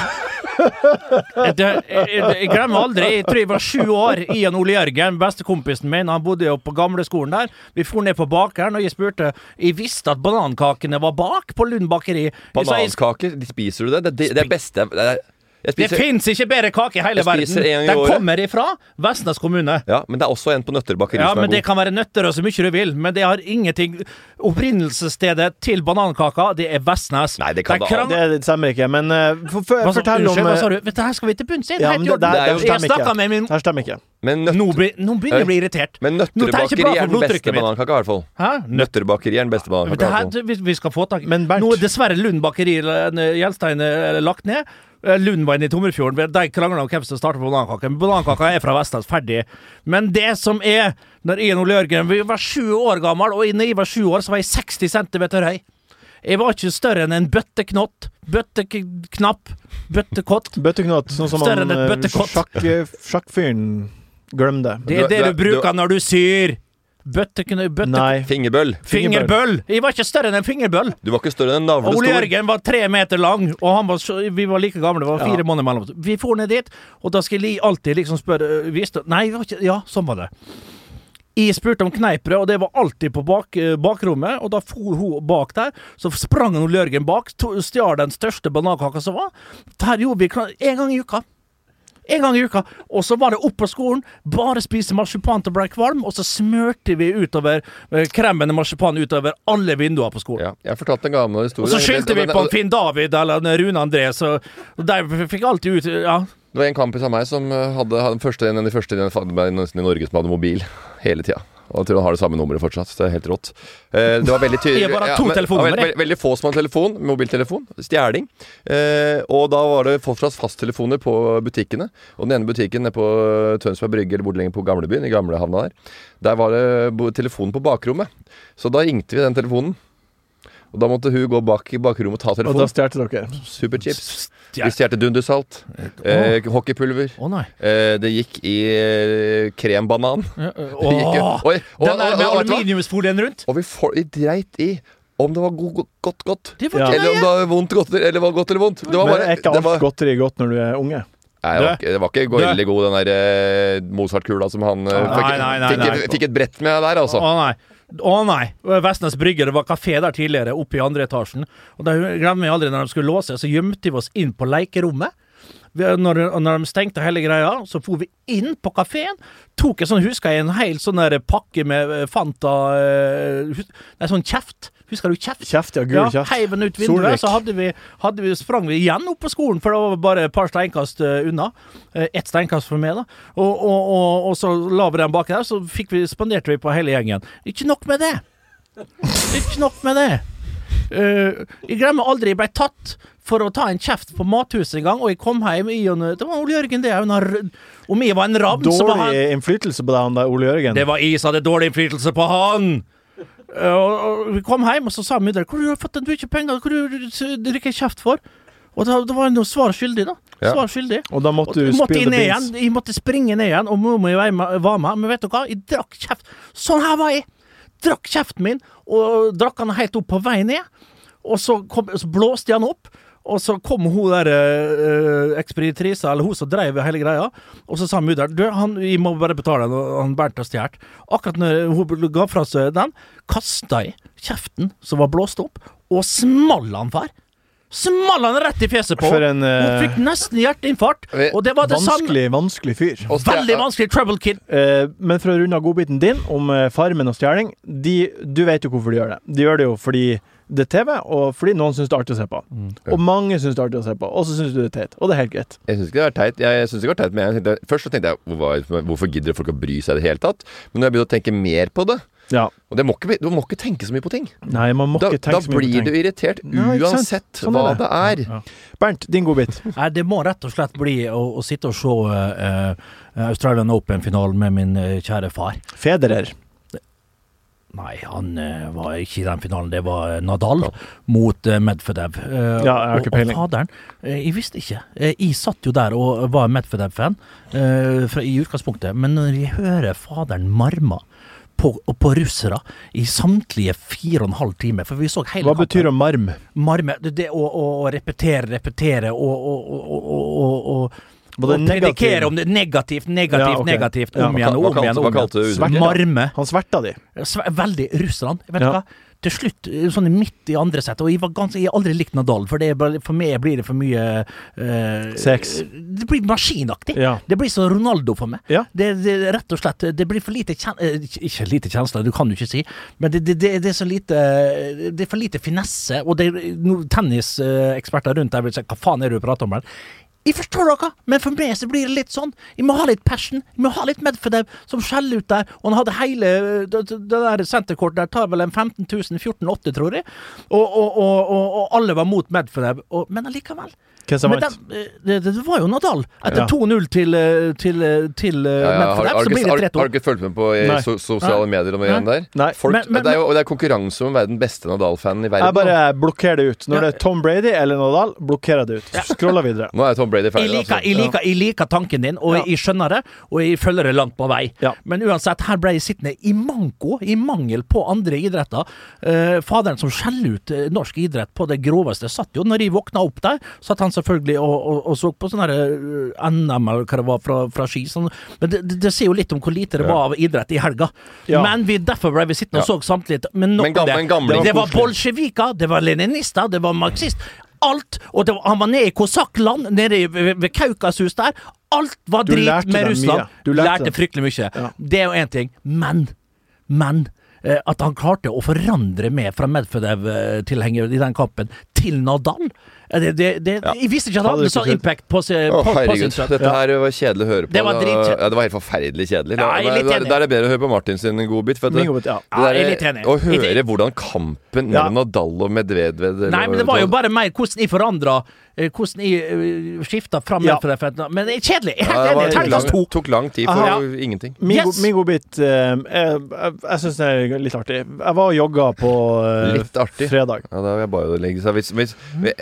E: jeg, jeg, jeg jeg glemmer aldri Jeg tror jeg var sju år. Ian Ole Jørgen, bestekompisen min, han bodde jo på gamleskolen der. Vi for ned på bakeren, og jeg spurte Jeg visste at banankakene var bak på Lund bakeri. Jeg sa, jeg-
C: Banankaker, de spiser du det? Det, det, det er beste det er, jeg
E: Det
C: spiser,
E: fins ikke bedre kake i hele
C: Jeg
E: verden!
C: spiser en gang i
E: Den
C: året.
E: kommer ifra Vestnes kommune.
C: Ja, men det er også en på Nøtter bakeri
E: Ja,
C: som
E: men
C: er
E: Det
C: god.
E: kan være nøtter og så mye du vil, men det har ingenting Opprinnelsesstedet til banankaka, det er Vestnes.
C: Nei, det kan
E: er
C: det
E: krang-
B: Det, det stemmer ikke, men eh, for, for,
E: Hva sa-
B: fortell om
E: Unnskyld, hva
B: eh,
E: sa du? Dette her skal vi til bunns i.
B: ja,
E: Helt
B: men
E: i
B: det,
E: orden.
B: der,
C: Det er jo-
B: der
E: jeg
B: stemmer
E: snakka
B: ikke.
E: med min
B: Der stemmer ikke.
C: Men,
E: nå,
C: nøtter,
E: be, nå begynner jeg å bli irritert.
C: men
E: Nå
C: Nøtter
E: tar jeg ikke bra
C: bakeri er
E: for
C: den
E: blodtrykket
C: beste
E: mitt.
C: banankaka, i hvert fall.
E: Hæ? Nøtt.
C: Nøtter bakeri er den beste
E: Det her,
C: banankaka. i hvert fall.
E: vi, vi skal få tak i
B: Men Bernt-
E: Nå er dessverre Lund bakeri eh, Gjelstein eh, lagt ned. Eh, Lund var inne i Tomrefjorden. De krangla om hvem som starta på banankaka. Men banankaka er fra Vestlands, ferdig. Men det som er Når Ian Ole Jørgen vi var sju år gammel, og når jeg var sju år, så var jeg 60 cm høy. Jeg var ikke større enn en bøtteknott. Bøtteknapp. Bøttekott.
B: (laughs) Bøtteknott, sånn som
E: Større
B: han,
E: enn et
B: eh,
E: bøttekott.
B: sjakk, sjakkfyren glemte.
E: Det
C: Du-
E: er det
C: du-
E: du bruker når du syr. Bøtteknø... Bøtte...
B: Nei.
C: Fingerbøll.
E: Fingerbøll! Jeg var ikke større enn en fingerbøll.
C: Du var ikke større enn en
E: Og Ole
C: navlestor.
E: Jørgen var tre meter lang, og han var så, vi var like gamle. Det var fire måneder mellom oss. Vi for ned dit, og da skal jeg alltid liksom spørre øh, visste, Nei, vi var ikke, ja, sånn var det. Jeg spurte om kneippbrød, og det var alltid på bak, øh, bakrommet. Og da for hun bak der. Så sprang Ole Jørgen bak, to- stjal den største banankaka som var. Der gjorde vi kna- en gang i uka. En gang i uka. Og så var det opp på skolen, bare spise marsipan til å bli kvalm, og så smørte vi utover øh, kremen og marsipan utover alle vinduer på skolen.
C: Ja, jeg fortalte en gammel historie.
E: Og så skyldte vi
C: Den-
E: på en Finn David eller en Rune André, så og de fikk alltid ut Ja,
C: Det var en kampis av meg som eh, hadde, hadde den første, en av de første i i Norge som hadde mobil (laughs) hele tida. Og jeg tror han har det samme nummeret fortsatt. så Det er helt rått. Eh, det var veldig tydelig.
E: (laughs) Jeg bare har to
C: men-
E: telefonnummer,
C: det var veldig, veldig få som hadde telefon. Mobiltelefon. Stjeling. Eh, og da var det fortsatt fasttelefoner på butikkene. Og den ene butikken nede på eh, Tønsberg Brygge eller hvor lenger på Gamlebyen, i gamlehavna der, der var det bo- telefon på bakrommet. Så da ringte vi den telefonen. Og da måtte hun gå bak i bakrommet og ta
B: Og da
C: telefonen.
B: stjal dere.
C: Superchips.
E: stjer-
C: Vi stjal dundersalt. Eh, hockeypulver.
E: Å nei.
C: Eh, det gikk i eh, krembanan. Det gikk, jo-
E: Åh,
C: oi, og,
E: den
C: og- og-
E: der med
C: vet du hva?
E: aluminiumsfolien rundt.
C: og vi, for, vi dreit i om det var god, go- godt, godt.
E: Det var
B: Ja.
E: ikke
C: Eller om det
E: nøye.
C: var vondt, godt, eller var godt eller vondt. Det var
B: Men
C: bare
B: er ikke
C: det
B: alt
C: var,
B: godteri godt når du er unge?
C: Nei, det var ikke, det var ikke
E: Død.
C: veldig god, den der eh, Mozart-kula som han eh,
E: Nei,
C: fikk,
E: nei, nei,
C: fikk,
E: nei.
C: fikk et brett med der, altså.
E: Å nei. Å nei. Vestnes Brygge, det var kafé der tidligere, oppe i andre etasjen. Og det glemmer jeg aldri når de skulle låse, så gjemte vi oss inn på lekerommet. Vi- Når, og når de stengte hele greia, så for vi inn på kafeen. Tok en sånn, husker jeg, en hel sånn der pakke med eh, Fanta eh, hus- Nei, sånn kjeft. Husker du kjeft?
B: Kjeft, ja. Gul kjeft.
E: heiv den ut vinduet,
B: Solvik.
E: så hadde vi, hadde vi, sprang vi igjen opp på skolen, for det var bare et par steinkast eh, unna. Eh, Ett steinkast for meg, da. Og, og, og, og så la vi den bak der, så fikk vi, spanderte vi på hele gjengen. Ikke nok med det! Ikke nok med det. Eh, jeg glemmer aldri jeg ble tatt for å ta en kjeft på mathuset en gang, og jeg kom hjem i en Det var Ole Jørgen, det. er jo en har- Om jeg var en ravn, så var han
B: Dårlig innflytelse på deg, han der Ole Jørgen.
E: det var jeg som hadde dårlig innflytelse på han! Eh, Og, og vi kom hjem, og så sa mudder'n 'Hvor har du fått den mye penger? Hvor har du s- drikker kjeft for?' Og da, da var han jo svar skyldig, da.
C: Ja.
E: Svar skyldig.
B: Og da
E: Og
B: måtte du
E: jeg måtte
B: spille the
E: jeg ned
B: beans.
E: igjen. Jeg måtte springe ned igjen, og mormor var med- var med. Men vet du hva? Jeg drakk kjeft. Sånn her var jeg! Drakk kjeften min, og drakk han helt opp på vei ned. Og så, kom, så blåste jeg han opp, og så kom hun der uh, ekspeditrisa, eller hun som drev hele greia, og så sa mudder'n Du, han, vi må bare betale han, og han Bernt har stjålet. Akkurat når hun ga fra seg den, kasta jeg kjeften som var blåst opp, og small han far. Small han rett i fjeset på!
B: For en, eh,
E: Hun fikk nesten hjerteinfarkt,
C: Vi-
E: og det var det samme.
B: Vanskelig, vanskelig fyr.
C: Og stjel-
E: Veldig vanskelig trouble kid.
B: Eh, men for å runde av godbiten din om eh, Farmen og stjeling de, Du vet jo hvorfor de gjør det. De gjør det jo fordi det er TV, og fordi noen syns det er artig å se på.
E: Mm.
B: Og mange syns det er artig å se på, og så syns du det er teit. Og det er helt greit.
C: Jeg syns ikke det var teit. Jeg synes ikke det var teit men jeg tenkte, først så tenkte jeg hvorfor, hvorfor gidder folk å bry seg i det hele tatt? Men når jeg begynte å tenke mer på det
B: Ja.
C: og det må ikke, bli- Du må ikke tenke så mye på ting.
B: Nei, man må
C: Da,
B: ikke
C: da
B: tenke så mye
C: blir
B: på
C: du
B: ting.
C: irritert
B: Ja, ikke sant?
C: uansett
B: Sånn
C: hva
B: er
C: det er.
B: Bernt, din godbit.
E: Nei, det må rett og slett bli å, å sitte og se eh, eh, Australian Open-finalen med min eh, kjære far.
B: Federer.
E: Nei, han eh, var ikke i den finalen. Det var eh, Nadal mot eh, Medvedev. Eh,
B: Ja, jeg har ikke
E: og-
B: peiling.
E: Og faderen, eh, jeg visste ikke. Eh, jeg satt jo der og var Medvedev-fan eh, fra- i utgangspunktet, men når jeg hører faderen marma på, og på russere i samtlige fire og en halv time, for vi så hele
B: Hva betyr å marm?
E: marme? Det, det å, å, å repetere, repetere og, og, og, og, og, og
B: Var det
E: og
B: negativ?
E: predikere om det negativt, negativt,
B: Ja, ok.
E: negativt.
B: Ja.
E: Om
C: Hva-
E: igjen og
C: hva
E: om igjen.
C: kalte-
E: og
C: hva
E: om igjen.
C: kalte du
B: uttrykket?
E: Marme.
B: Han sverta de.
E: Sve- Veldig russerne. Vet du
B: Ja.
E: hva? Til slutt, sånn midt i andre sett, og jeg, var ganske, jeg har aldri likt Nadal, for, det er bare, for meg blir det for mye eh,
B: Sex.
E: Det blir maskinaktig.
B: Ja.
E: Det blir som Ronaldo for meg.
B: Ja.
E: Det, det, rett og slett, det blir for lite kjen... eh, Ikke lite kjensler, du kan jo ikke si, men det, det, det, det er så lite Det er for lite finesse, og det no, tenniseksperter rundt der vil si hva faen er det du prater om her? Jeg forstår dere, men for meg så blir det litt sånn. Jeg må ha litt passion. Jeg må ha litt Medvedev som skjeller ut der. Og han hadde hele Det, det der senterkortet der tar vel en 15 000, 14 8, tror jeg. Og, og, og, og, og alle var mot Medvedev. Og, men allikevel.
B: Hvem som
E: Men
B: vant?
E: dem- eh, det, det var jo Nadal. Etter
B: Ja.
E: 2-0 til, eh, til, eh, til eh,
C: Ja, ja, har,
E: Medvedev,
C: har,
E: så
C: du
E: blir
C: ikke-
E: det
C: har, har
E: 3-2.
C: du ikke fulgt med på eh,
B: Nei.
C: so, sosiale medier om det greiene der?
B: Nei.
C: Folk,
E: Men- men-
C: det, er jo, det er konkurranse om å være den beste Nadal-fanen i verden.
B: Jeg bare
C: nå.
B: blokkerer det ut. Når det er Tom Brady eller Nadal, blokkerer jeg det ut. Scroller videre.
C: Nå er Tom Brady
E: Jeg
C: ferdig.
E: liker, jeg,
C: altså.
E: liker, jeg liker tanken din, og
B: Ja.
E: jeg skjønner det, og jeg følger det langt på vei.
B: Ja.
E: Men uansett, her ble jeg sittende i manko, i mangel på andre idretter. Eh, faderen som skjeller ut eh, norsk idrett på det groveste, satt jo når jeg våkna opp der, satt han selvfølgelig og, og, og så på sånn her eh, NM eller hva det var fra, fra ski. Sånn. Men det, det, det sier jo litt om hvor lite det var av idrett i helga.
B: Ja.
E: Men vi, derfor ble vi sittende og så samtidig. Men nok
C: Men gam-
E: om det.
C: men gamle-
E: det var bolsjeviker, det var leninister, det var marxist. Alt. Og det var, han var nede i Kosakkland, nede i, ved, ved Kaukasus der. Alt var
B: Du
E: drit
B: lærte
E: med
B: dem
E: Russland.
B: mye. Du lærte
E: lærte
B: dem.
E: fryktelig mye.
B: Ja.
E: Det er jo én ting. Men, men eh, at han klarte å forandre meg fra Medvedev-tilhenger i den kampen til Nadal eh, det, det, det, Jeg visste ikke at han
B: Hadde du
E: hadde
B: ikke
E: så
B: trodd.
E: impact på, seg-
C: Å,
E: på, på
C: herregud.
E: sin sønn.
C: Dette her var kjedelig å høre på.
E: Det var dritkjedelig.
C: ja, det var helt forferdelig kjedelig. Da,
E: Ja, jeg er litt
C: da-
E: enig.
C: da er det bedre å høre på Martin sin godbit. For at
B: Min
C: det-
B: godbit, ja.
C: det
E: Ja,
C: der-
E: jeg er litt enig.
C: Å
E: Litt
C: høre
E: enig.
C: hvordan
B: Ja.
C: kampen mellom Nadal og Medvedev eller-
E: Nei, men det var jo bare mer hvordan jeg forandra eh, Hvordan jeg eh, skifta fra
B: Ja.
E: Medvedev. for- Men det er kjedelig! Jeg er
C: ja,
E: helt
C: det var,
E: enig.
C: tok,
E: Terningkast to.
C: lang, tok lang tid for
E: Aha.
C: ingenting.
B: Min,
E: Yes.
B: go min godbit eh, Jeg, jeg, jeg syns det er litt artig. Jeg var og jogga på eh,
C: Litt artig.
B: fredag. (laughs)
C: Ja, da vil jeg bare legge seg hvis, hvis,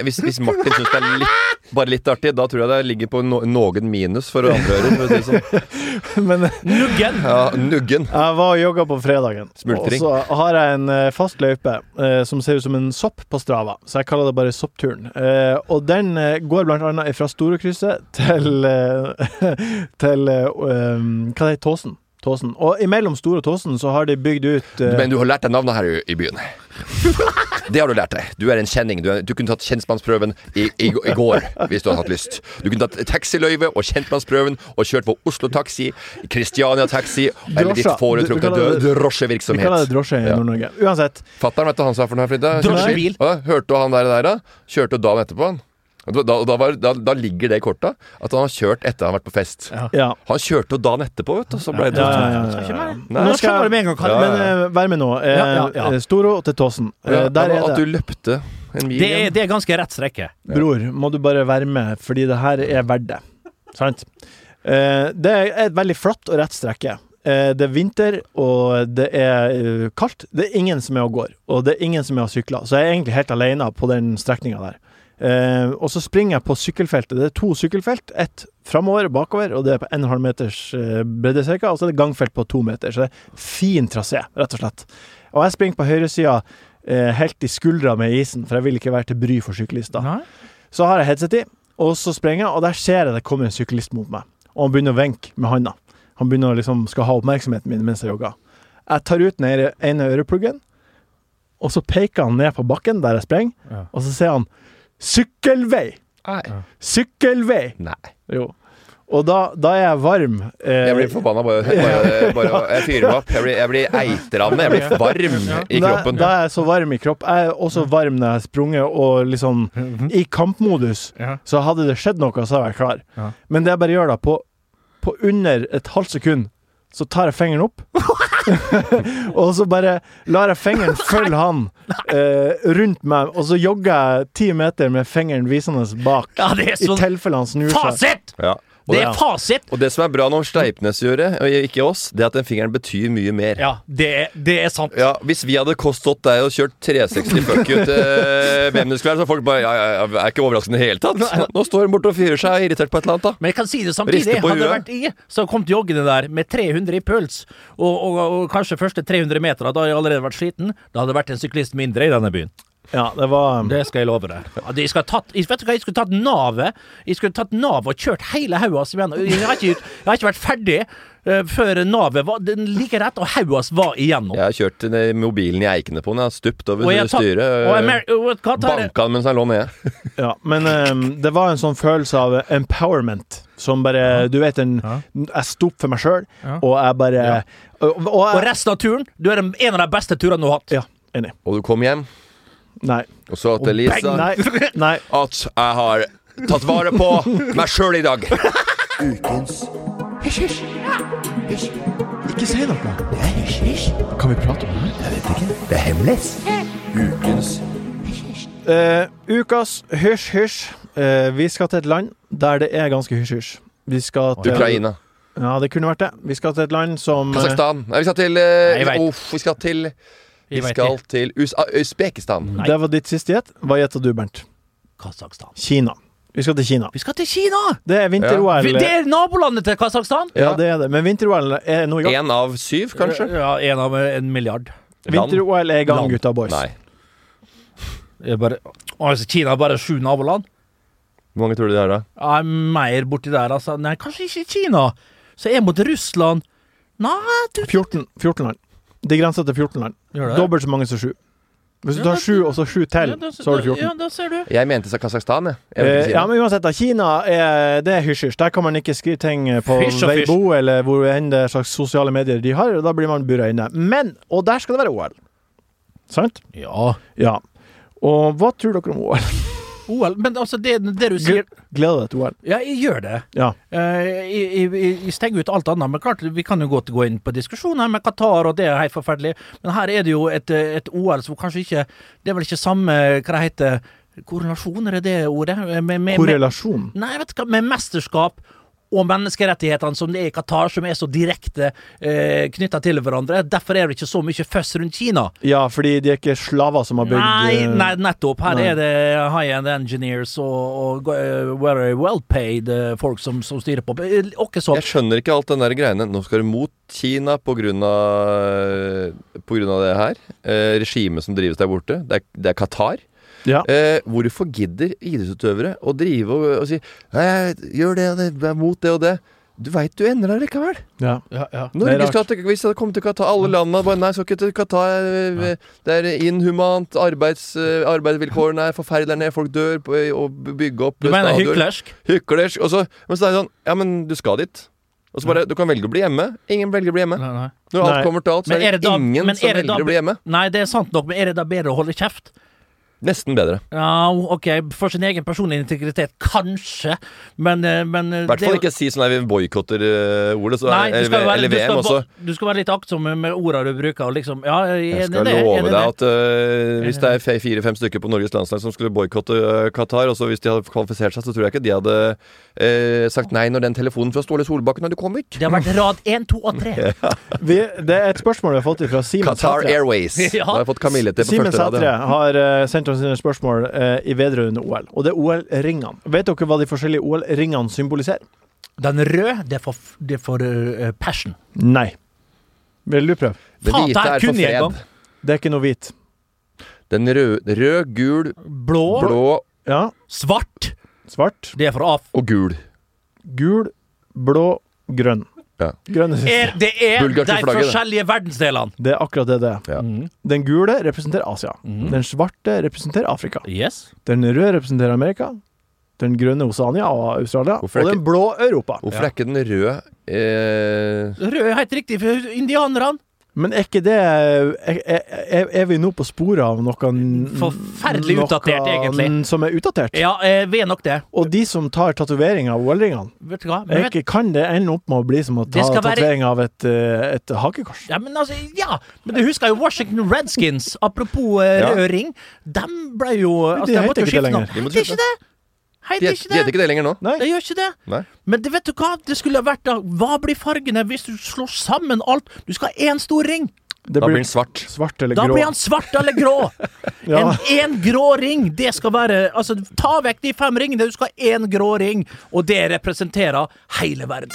C: hvis, hvis Martin syns det er litt, bare litt artig, da tror jeg det ligger på no noen minus for andre ører. For å si det sånn.
B: Men
E: Nuggen!
C: Ja, nuggen.
B: Jeg var og jogga på fredagen,
C: Smultring.
B: og så har jeg en eh, fast løype eh, som ser ut som en sopp på Strava, så jeg kaller det bare soppturen. Eh, og den eh, går blant annet fra Storekrysset (laughs) til eh, (laughs) Til eh, um, Hva det heter Tåsen. Tåsen. Og imellom Store og Tåsen så har de bygd ut eh,
C: Men du har lært deg navnet her i- i byen. Det har du lært deg. Du er en kjenning. Du, er, du kunne tatt kjentmannsprøven i, i, i går hvis du hadde hatt lyst. Du kunne tatt taxiløyve og kjentmannsprøven og kjørt på Oslo Taxi, Christiania Taxi eller ditt
B: Drosja. Du- du
C: foretrukne
B: kaller det-
C: dø-
B: Vi kaller det
C: drosjevirksomhet.
B: drosje i
C: Ja.
B: Nord-Norge. Uansett.
C: Fatter'n, vet du han sa for noe her, Frida? Hørte-
E: Drosjebil.
C: Hva? Hørte du han der, der da? Kjørte du dagen etterpå han? Og Da, da, var, da, da ligger det i korta at han har kjørt etter han har vært på fest.
B: Ja.
C: Han kjørte jo dagen etterpå, vet du. Så ble det
B: Ja, ja, ja, ja.
C: Nei.
E: Nå skjønner du med en gang hva
C: Ja,
B: Men
C: ja, ja.
B: eh, vær med nå. Eh,
E: Ja, ja, ja.
B: Storo til Tåsen. Eh,
C: Ja,
B: der
C: at
B: er
C: du
B: det.
C: løpte en mil
E: det er,
C: igjen.
E: det er ganske rett strekke.
B: Bror, må du bare være med, fordi det her er verdt det. Sant? Eh, det er et veldig flatt og rett strekke. Eh, det er vinter, og det er eh, kaldt. Det er ingen som er og går, og det er ingen som er og sykler. Så jeg er egentlig helt alene på den strekninga der. Eh, og så springer jeg på sykkelfeltet. Det er to sykkelfelt. Ett framover og bakover, og det er på 1,5 meters eh, bredde cirka. Og så er det gangfelt på to meter. Så det er fin trasé, rett og slett. Og jeg springer på høyresida eh, helt i skuldra med isen, for jeg vil ikke være til bry for syklister.
E: Nei.
B: Så har jeg headset i, og så springer jeg, og der ser jeg det kommer en syklist mot meg. Og han begynner å venke med handa. Han begynner å liksom skal ha oppmerksomheten min mens jeg jogger. Jeg tar ut den ene- ene ørepluggen, og så peker han ned på bakken der jeg springer,
E: Ja.
B: og så sier han 'sykkelvei'!
C: Nei.
B: Sykkelvei!
C: Nei.
B: Jo. Og da, da er jeg varm. eh,
C: Jeg blir forbanna bare, bare, bare Jeg fyrer meg opp. Jeg blir, jeg blir eitrende. Jeg blir varm i
B: da,
C: kroppen.
B: Da er jeg så varm i kropp. Jeg er
E: Mm.
B: også varm når jeg har sprunget og liksom I kampmodus.
E: Mhm. Ja.
B: Så hadde det skjedd noe, så hadde jeg vært klar.
E: Ja.
B: Men det jeg bare gjør da, på, på under et halvt sekund, så tar jeg fingeren opp. (laughs) og så bare lar jeg
E: (laughs)
B: fingeren følge han eh, rundt meg, og så jogger jeg ti meter med fingeren visende bak.
E: Ja, det er
B: I
E: sånn
B: tilfelle han snur seg.
E: Fasit!
C: Ja. Og,
E: Det
C: det,
E: er fasit!
C: og det som er bra når Sleipnes gjør det, og ikke oss, det er at den fingeren betyr mye mer.
E: Ja, det er, det er sant.
C: Ja, Hvis vi hadde kostet deg og kjørt 360 fuck you til hvem det skulle være, så hadde folk bare ja, ja, ja, er ikke overraskende i det hele tatt. Nå står hun borte og fyrer seg irritert på et eller annet, da.
E: Men jeg kan si det
C: Rister
E: samtidig.
C: på
E: Hadde det
C: huet.
E: vært jeg som kom til joggende der med 300 i puls, og, og, og kanskje første 300 meter, da hadde jeg allerede vært sliten, da hadde det vært en syklist mindre i denne byen.
B: Ja, det var um,
E: Det skal jeg love deg. Ja, de skal ha tatt, jeg, vet du hva, jeg skulle tatt navet Jeg skulle tatt navet og kjørt hele hodet hans igjen. Jeg har ikke, jeg har ikke vært ferdig eh, før navet var den like rett, og hodet hans var igjennom.
C: Jeg har kjørt den mobilen i eikene på den. Jeg har stupt over
E: Og jeg har tatt-
C: styret.
E: og jeg mer- og hva tar jeg-
C: Banka den mens han lå nede.
B: Ja, men ehm, det var en sånn følelse av empowerment. Som bare Du vet, en, jeg sto opp for meg sjøl, og jeg bare og, og,
E: Og
B: jeg,
E: resten av turen, du er den- en av de beste turene du har hatt.
B: Ja, enig.
C: Og du kom hjem,
B: Nei.
C: og så til Lisa
B: Nei. Nei.
C: at jeg har tatt vare på meg sjøl i
E: (laughs)
C: dag.
D: Ukens Hysj, hysj. Hysj.
B: Ikke si noe.
D: Det er hysj, hysj.
B: Kan vi prate om det?
D: Jeg vet ikke. Det er hemmelig. Ukens
B: Eh, ukas hysj-hysj. vi skal til et land der det er ganske hysj-hysj. Vi skal til
C: Ukraina.
B: Ja, det kunne vært det. Vi skal til et land som eh,
C: Kasakhstan. Nei, vi skal til eh,
E: Nei, jeg vet.
C: uff, Vi skal til Vi
E: Jeg vet
C: skal
E: det.
C: til Us- ah, Usbekistan.
B: eh, Det var ditt siste gjett. Hva gjetter du, Bernt?
E: Kasakhstan.
B: Kina. Vi skal til Kina.
E: Vi skal til Kina!
B: Det er vinter-OL.
E: Vi- Det er nabolandet til Kasakhstan.
B: Ja, det er det. Men vinter-OL er nå i gang.
C: Én av syv, kanskje?
E: Ja, en av en milliard.
C: Land?
B: Vinter-OL er i gang,
E: Land.
B: gutta boys.
C: Nei.
E: Det er bare, altså, Kina har bare sju naboland.
C: Hvor mange tror du de har, da?
E: Jeg er mer borti der, altså. Nei, kanskje ikke Kina. Så jeg mot Russland. Nei, du
B: 14, 14 land. De grenser til 14 land.
E: Gjør det?
B: Dobbelt så mange som 7. Hvis du
E: Ja,
B: tar
E: da-
B: 7 og så 7 til,
E: Ja, da-
B: så har du
E: Ja,
B: 14.
E: da ser du.
C: Jeg mente sa Kasakhstan, jeg. jeg vet
B: Eh,
C: ikke
B: ja,
C: Kina.
B: men uansett, da. Kina er, det er hysj-hysj. Der kan man ikke skrive ting eh, på
E: Fysj og fysj.
B: Weibo eller hvor enn det er slags sosiale medier de har, og da blir man bura inne. Men Og der skal det være OL. Sant?
E: Ja.
B: Ja. Og hva tror dere om OL?
E: OL. Men altså, det, det du sier
B: Gleder deg til OL?
E: Ja, jeg gjør det.
B: Ja.
E: Eh, Jeg, jeg, jeg- jeg stenger ut alt annet. Men klart, vi kan jo godt gå inn på diskusjoner med Qatar, og det er helt forferdelig. Men her er det jo et, eh, et OL som kanskje ikke Det er vel ikke samme Hva det heter Korrelasjon, er det det ordet? Eh, Med, med, med,
B: Korrelasjon.
E: nei, vet du hva, med mesterskap og menneskerettighetene som det er i Qatar, som er så direkte eh, knytta til hverandre. Derfor er det ikke så mye føss rundt Kina.
B: Ja, fordi de er ikke slaver som har bygd
E: Nei,
B: eh,
E: nei, nettopp. Her
B: nei.
E: er det high-end engineers og, og eh, very well-paid eh, folk som, som styrer på. Eh, Åkke så
C: Jeg skjønner ikke alt den der greiene. Nå skal du mot Kina på grunn av, på grunn av det her. Eh, Regimet som drives der borte. Det er, det er Qatar.
B: Ja.
C: Eh, hvorfor gidder idrettsutøvere å drive og, og si «Nei, gjør det og det, vær mot det og det. Du veit du endrer deg likevel.
B: ja.
E: ja, ja.
B: Det er
C: Norge
B: rart.
C: skal til, hvis det kommer til Qatar, alle landene bare Nei, skal ikke til Qatar. eh, eh, Det er inhumant. Arbeids, eh, arbeidsvilkårene er forferdelige der nede. Folk dør på, og bygger opp
E: Du mener
C: stadioner.
E: hyklersk?
C: Hyklersk. Og så, men så er det sånn Ja, men du skal dit. Og så bare Du kan velge å bli hjemme. Ingen velger å bli hjemme.
E: Nei, nei.
C: Når alt
B: Nei.
C: kommer til alt, så
E: Men
C: er det,
E: er det da-
C: ingen
E: men
C: som
E: er det
C: velger
E: da-
C: å bli hjemme.
E: nei, det er sant nok, men er det da bedre å holde kjeft?
C: Nesten bedre.
E: Ja, ok, for sin egen personlige integritet, kanskje, men, eh, men eh,
C: I hvert
E: det er
C: fall
E: jo-
C: ikke si sånn at vi boikotter uh, ordet, så
E: Nei, du
C: eller,
E: skal, jo være,
C: eller
E: du,
C: VM
E: skal,
C: også.
E: va- du skal være litt aktsom med- med orda du bruker. Og liksom, ja, jeg er
C: Jeg
E: enig i
C: skal
E: det, jeg er enig
C: love
E: i
C: deg
E: det.
C: at eh, hvis det er fe- fire-fem stykker på Norges landslag som skulle boikotte eh, Qatar, og så hvis de hadde kvalifisert seg, så tror jeg ikke de hadde eh, sagt nei når den telefonen fra Ståle Solbakken hadde kommet.
E: Det har vært rad én, to og
C: (laughs)
E: tre.
B: Vi, det er et spørsmål vi har fått fra Simen
C: Qatar
B: Sætre.
C: Airways.
E: Ja.
C: Da har jeg fått Kamille til på
B: Simen
C: første rad.
B: Sætre
C: ja.
B: har eh, sendt oss sine spørsmål eh, i vedrørende OL, og det er OL-ringene. Vet dere hva de forskjellige OL-ringene symboliserer?
E: Den røde, det er for, det er for eh, passion.
B: Nei. Vil du prøve?
C: Det
E: Faen,
C: hvite
E: det her
C: er
E: kunne
C: for
E: jeg
C: fred.
E: engang.
B: Det er ikke noe hvit.
C: Den rød, rød, gul,
E: Blå,
C: blå
B: Ja.
E: svart,
B: Svart,
E: det er for av.
C: og gul.
B: gul, blå, grønn.
C: Ja.
B: Grønn er siste.
E: Er, det er
C: Bulgarske
E: de
C: flagget, det.
E: forskjellige verdensdelene. Mm.
B: Det er akkurat det det er.
C: Ja.
B: Den gule representerer Asia.
C: Mhm.
B: Den svarte representerer Afrika.
E: Yes.
B: Den røde representerer Amerika. Den grønne Oceania og Australia.
C: Hvorfor er
B: og den
C: ikke-
B: blå Europa.
C: Hvorfor er ikke den røde eh,
E: Rød er helt riktig for indianerne.
B: Men er ikke det Er, er, er vi nå på sporet av noe
E: Forferdelig
B: noe
E: utdatert, egentlig.
B: Som er utdatert.
E: Ja, eh, vi er nok det.
B: Og de som tar tatovering av OL-ringene,
E: Vet du hva? Men
B: er
E: vet,
B: ikke- kan det ende opp med å bli som å ta
E: Det skal være-
B: tatovering av et, eh, et hakekors?
E: ja, men altså, ja, men du husker jo Washington Redskins. Apropos eh,
C: Ja.
E: rød ring. Dem ble jo altså,
B: de
E: dem
B: heter
E: måtte jo
B: ikke det
E: skifte
B: lenger.
E: navn.
C: De måtte
E: Heter
C: skifte.
E: ikke det!
C: De
E: Heter
C: het-
E: ikke
C: de
E: det!
C: heter ikke det lenger nå.
B: Nei.
E: Det gjør ikke det.
C: Nei.
E: Men det vet du hva? Det skulle ha vært da Hva blir fargene hvis du slår sammen alt? Du skal ha én stor ring.
B: Det
C: Da blir den svart.
B: svart eller
E: Da
B: grå.
E: blir han svart
C: (laughs)
E: eller grå. En
B: Ja.
E: én grå ring, det skal være Altså, ta vekk de fem ringene, du skal ha én grå ring, og det representerer hele verden.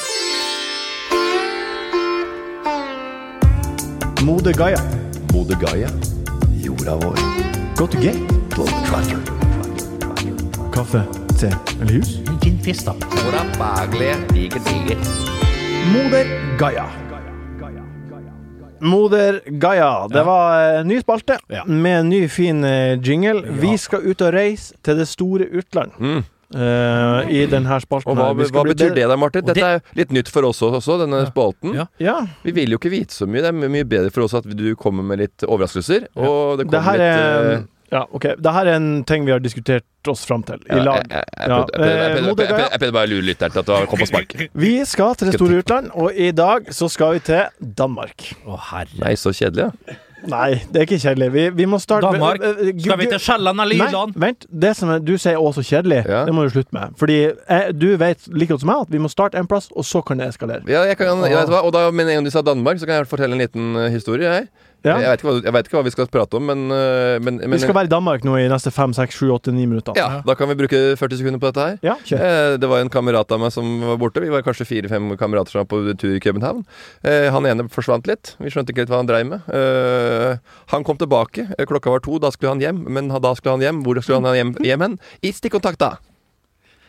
B: Mode Gaia.
C: Bodø Gaia. Jorda vår.
B: Godt og gay. Kaffe, te eller jus?
E: Gin fista.
C: Jorda baglige. Diger, diger.
B: Moder Gaia. Moder Gaia. Det var en ny spalte
E: Ja.
B: med en ny, fin eh, jingle. Vi skal ut og reise til det store utland. Eh, I denne spalten.
C: Og hva,
B: her. Vi skal
C: hva
B: bli
C: betyr
B: bedre-
C: det da, Martin?
E: det-
C: Dette er litt nytt for oss også, denne spalten.
E: Ja.
B: Ja.
C: Vi vil jo ikke vite så mye. Det er mye bedre for oss at du kommer med litt overraskelser. Og det
B: Det
C: kommer
B: her
C: litt
B: er
C: eh,
B: ja, ok. Det her er en ting vi har diskutert oss fram til i
C: ja,
B: lag.
C: jeg- jeg- jeg
B: Ja,
C: prøvde- jeg prøvde- jeg
B: eh,
C: prøvde-
B: Moder
C: jeg prøvde-
B: Gaia.
C: Jeg prøvde bare å lure lytteren til at du kom på spark.
B: Vi skal til det store utland, og i dag så skal vi til Danmark.
E: Å, herre.
C: Nei, så kjedelig, ja.
B: Nei, det er ikke kjedelig. Vi, vi må starte
E: Danmark.
B: Eh, eh,
E: Skal vi til Sjælland eller
B: Nei,
C: Sånn
E: Jylland?
B: vent. Det som er, du sier også kjedelig,
C: Ja.
B: det må du slutte med. Fordi eh, du vet like godt som jeg at vi må starte en plass, og så kan det eskalere.
C: ja jeg kan, jeg vet hva, og da, med en gang du sa Danmark, så kan jeg fortelle en liten eh, historie, jeg.
B: Ja.
C: Jeg, vet ikke hva, jeg vet ikke hva vi skal prate om, men, eh, men, men
B: vi skal være i Danmark nå i neste fem, seks, sju, åtte, ni minutter.
C: Ja, da kan vi bruke 40 sekunder på dette her.
B: Ja, kjør.
C: Eh, Det var en kamerat av meg som var borte. Vi var kanskje fire-fem kamerater som var på tur i København. Eh, Han ene forsvant litt. Vi skjønte ikke helt hva han dreiv med. Eh, Han kom tilbake. Eh, Klokka var to. Da skulle han hjem. Men da skulle han hjem. Hvor skulle han hjem, hjem hen? I stikkontakta!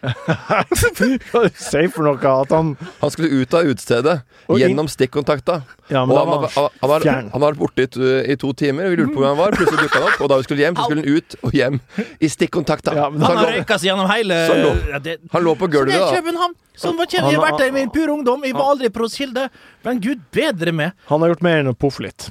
B: (laughs) Hva er det du sier for noe at han
C: Han skulle ut av utestedet.
B: Og inn-
C: Gjennom stikkontakta.
B: Ja,
C: Og
B: men da
C: han,
B: var
C: var-
B: han
C: han, han, var,
B: fjern.
C: han var borte i, to- i to timer, og vi lurte på hvor han var. Plutselig dukka han opp. Og da vi skulle hjem, så skulle han ut og hjem i stikkontakta.
B: Ja, men
C: Så
E: Han
C: han,
E: har
C: lå,
E: røyka seg gjennom hele
C: Så lå-
E: Ja, det-
C: han lå på
E: Så det
C: gulvet,
E: er
C: da.
E: København. Sånn var Kjell. Jeg har vært der i min pure ungdom. Jeg var aldri proskilde. Men gud bedre meg.
B: Han har gjort mer enn å poffe litt.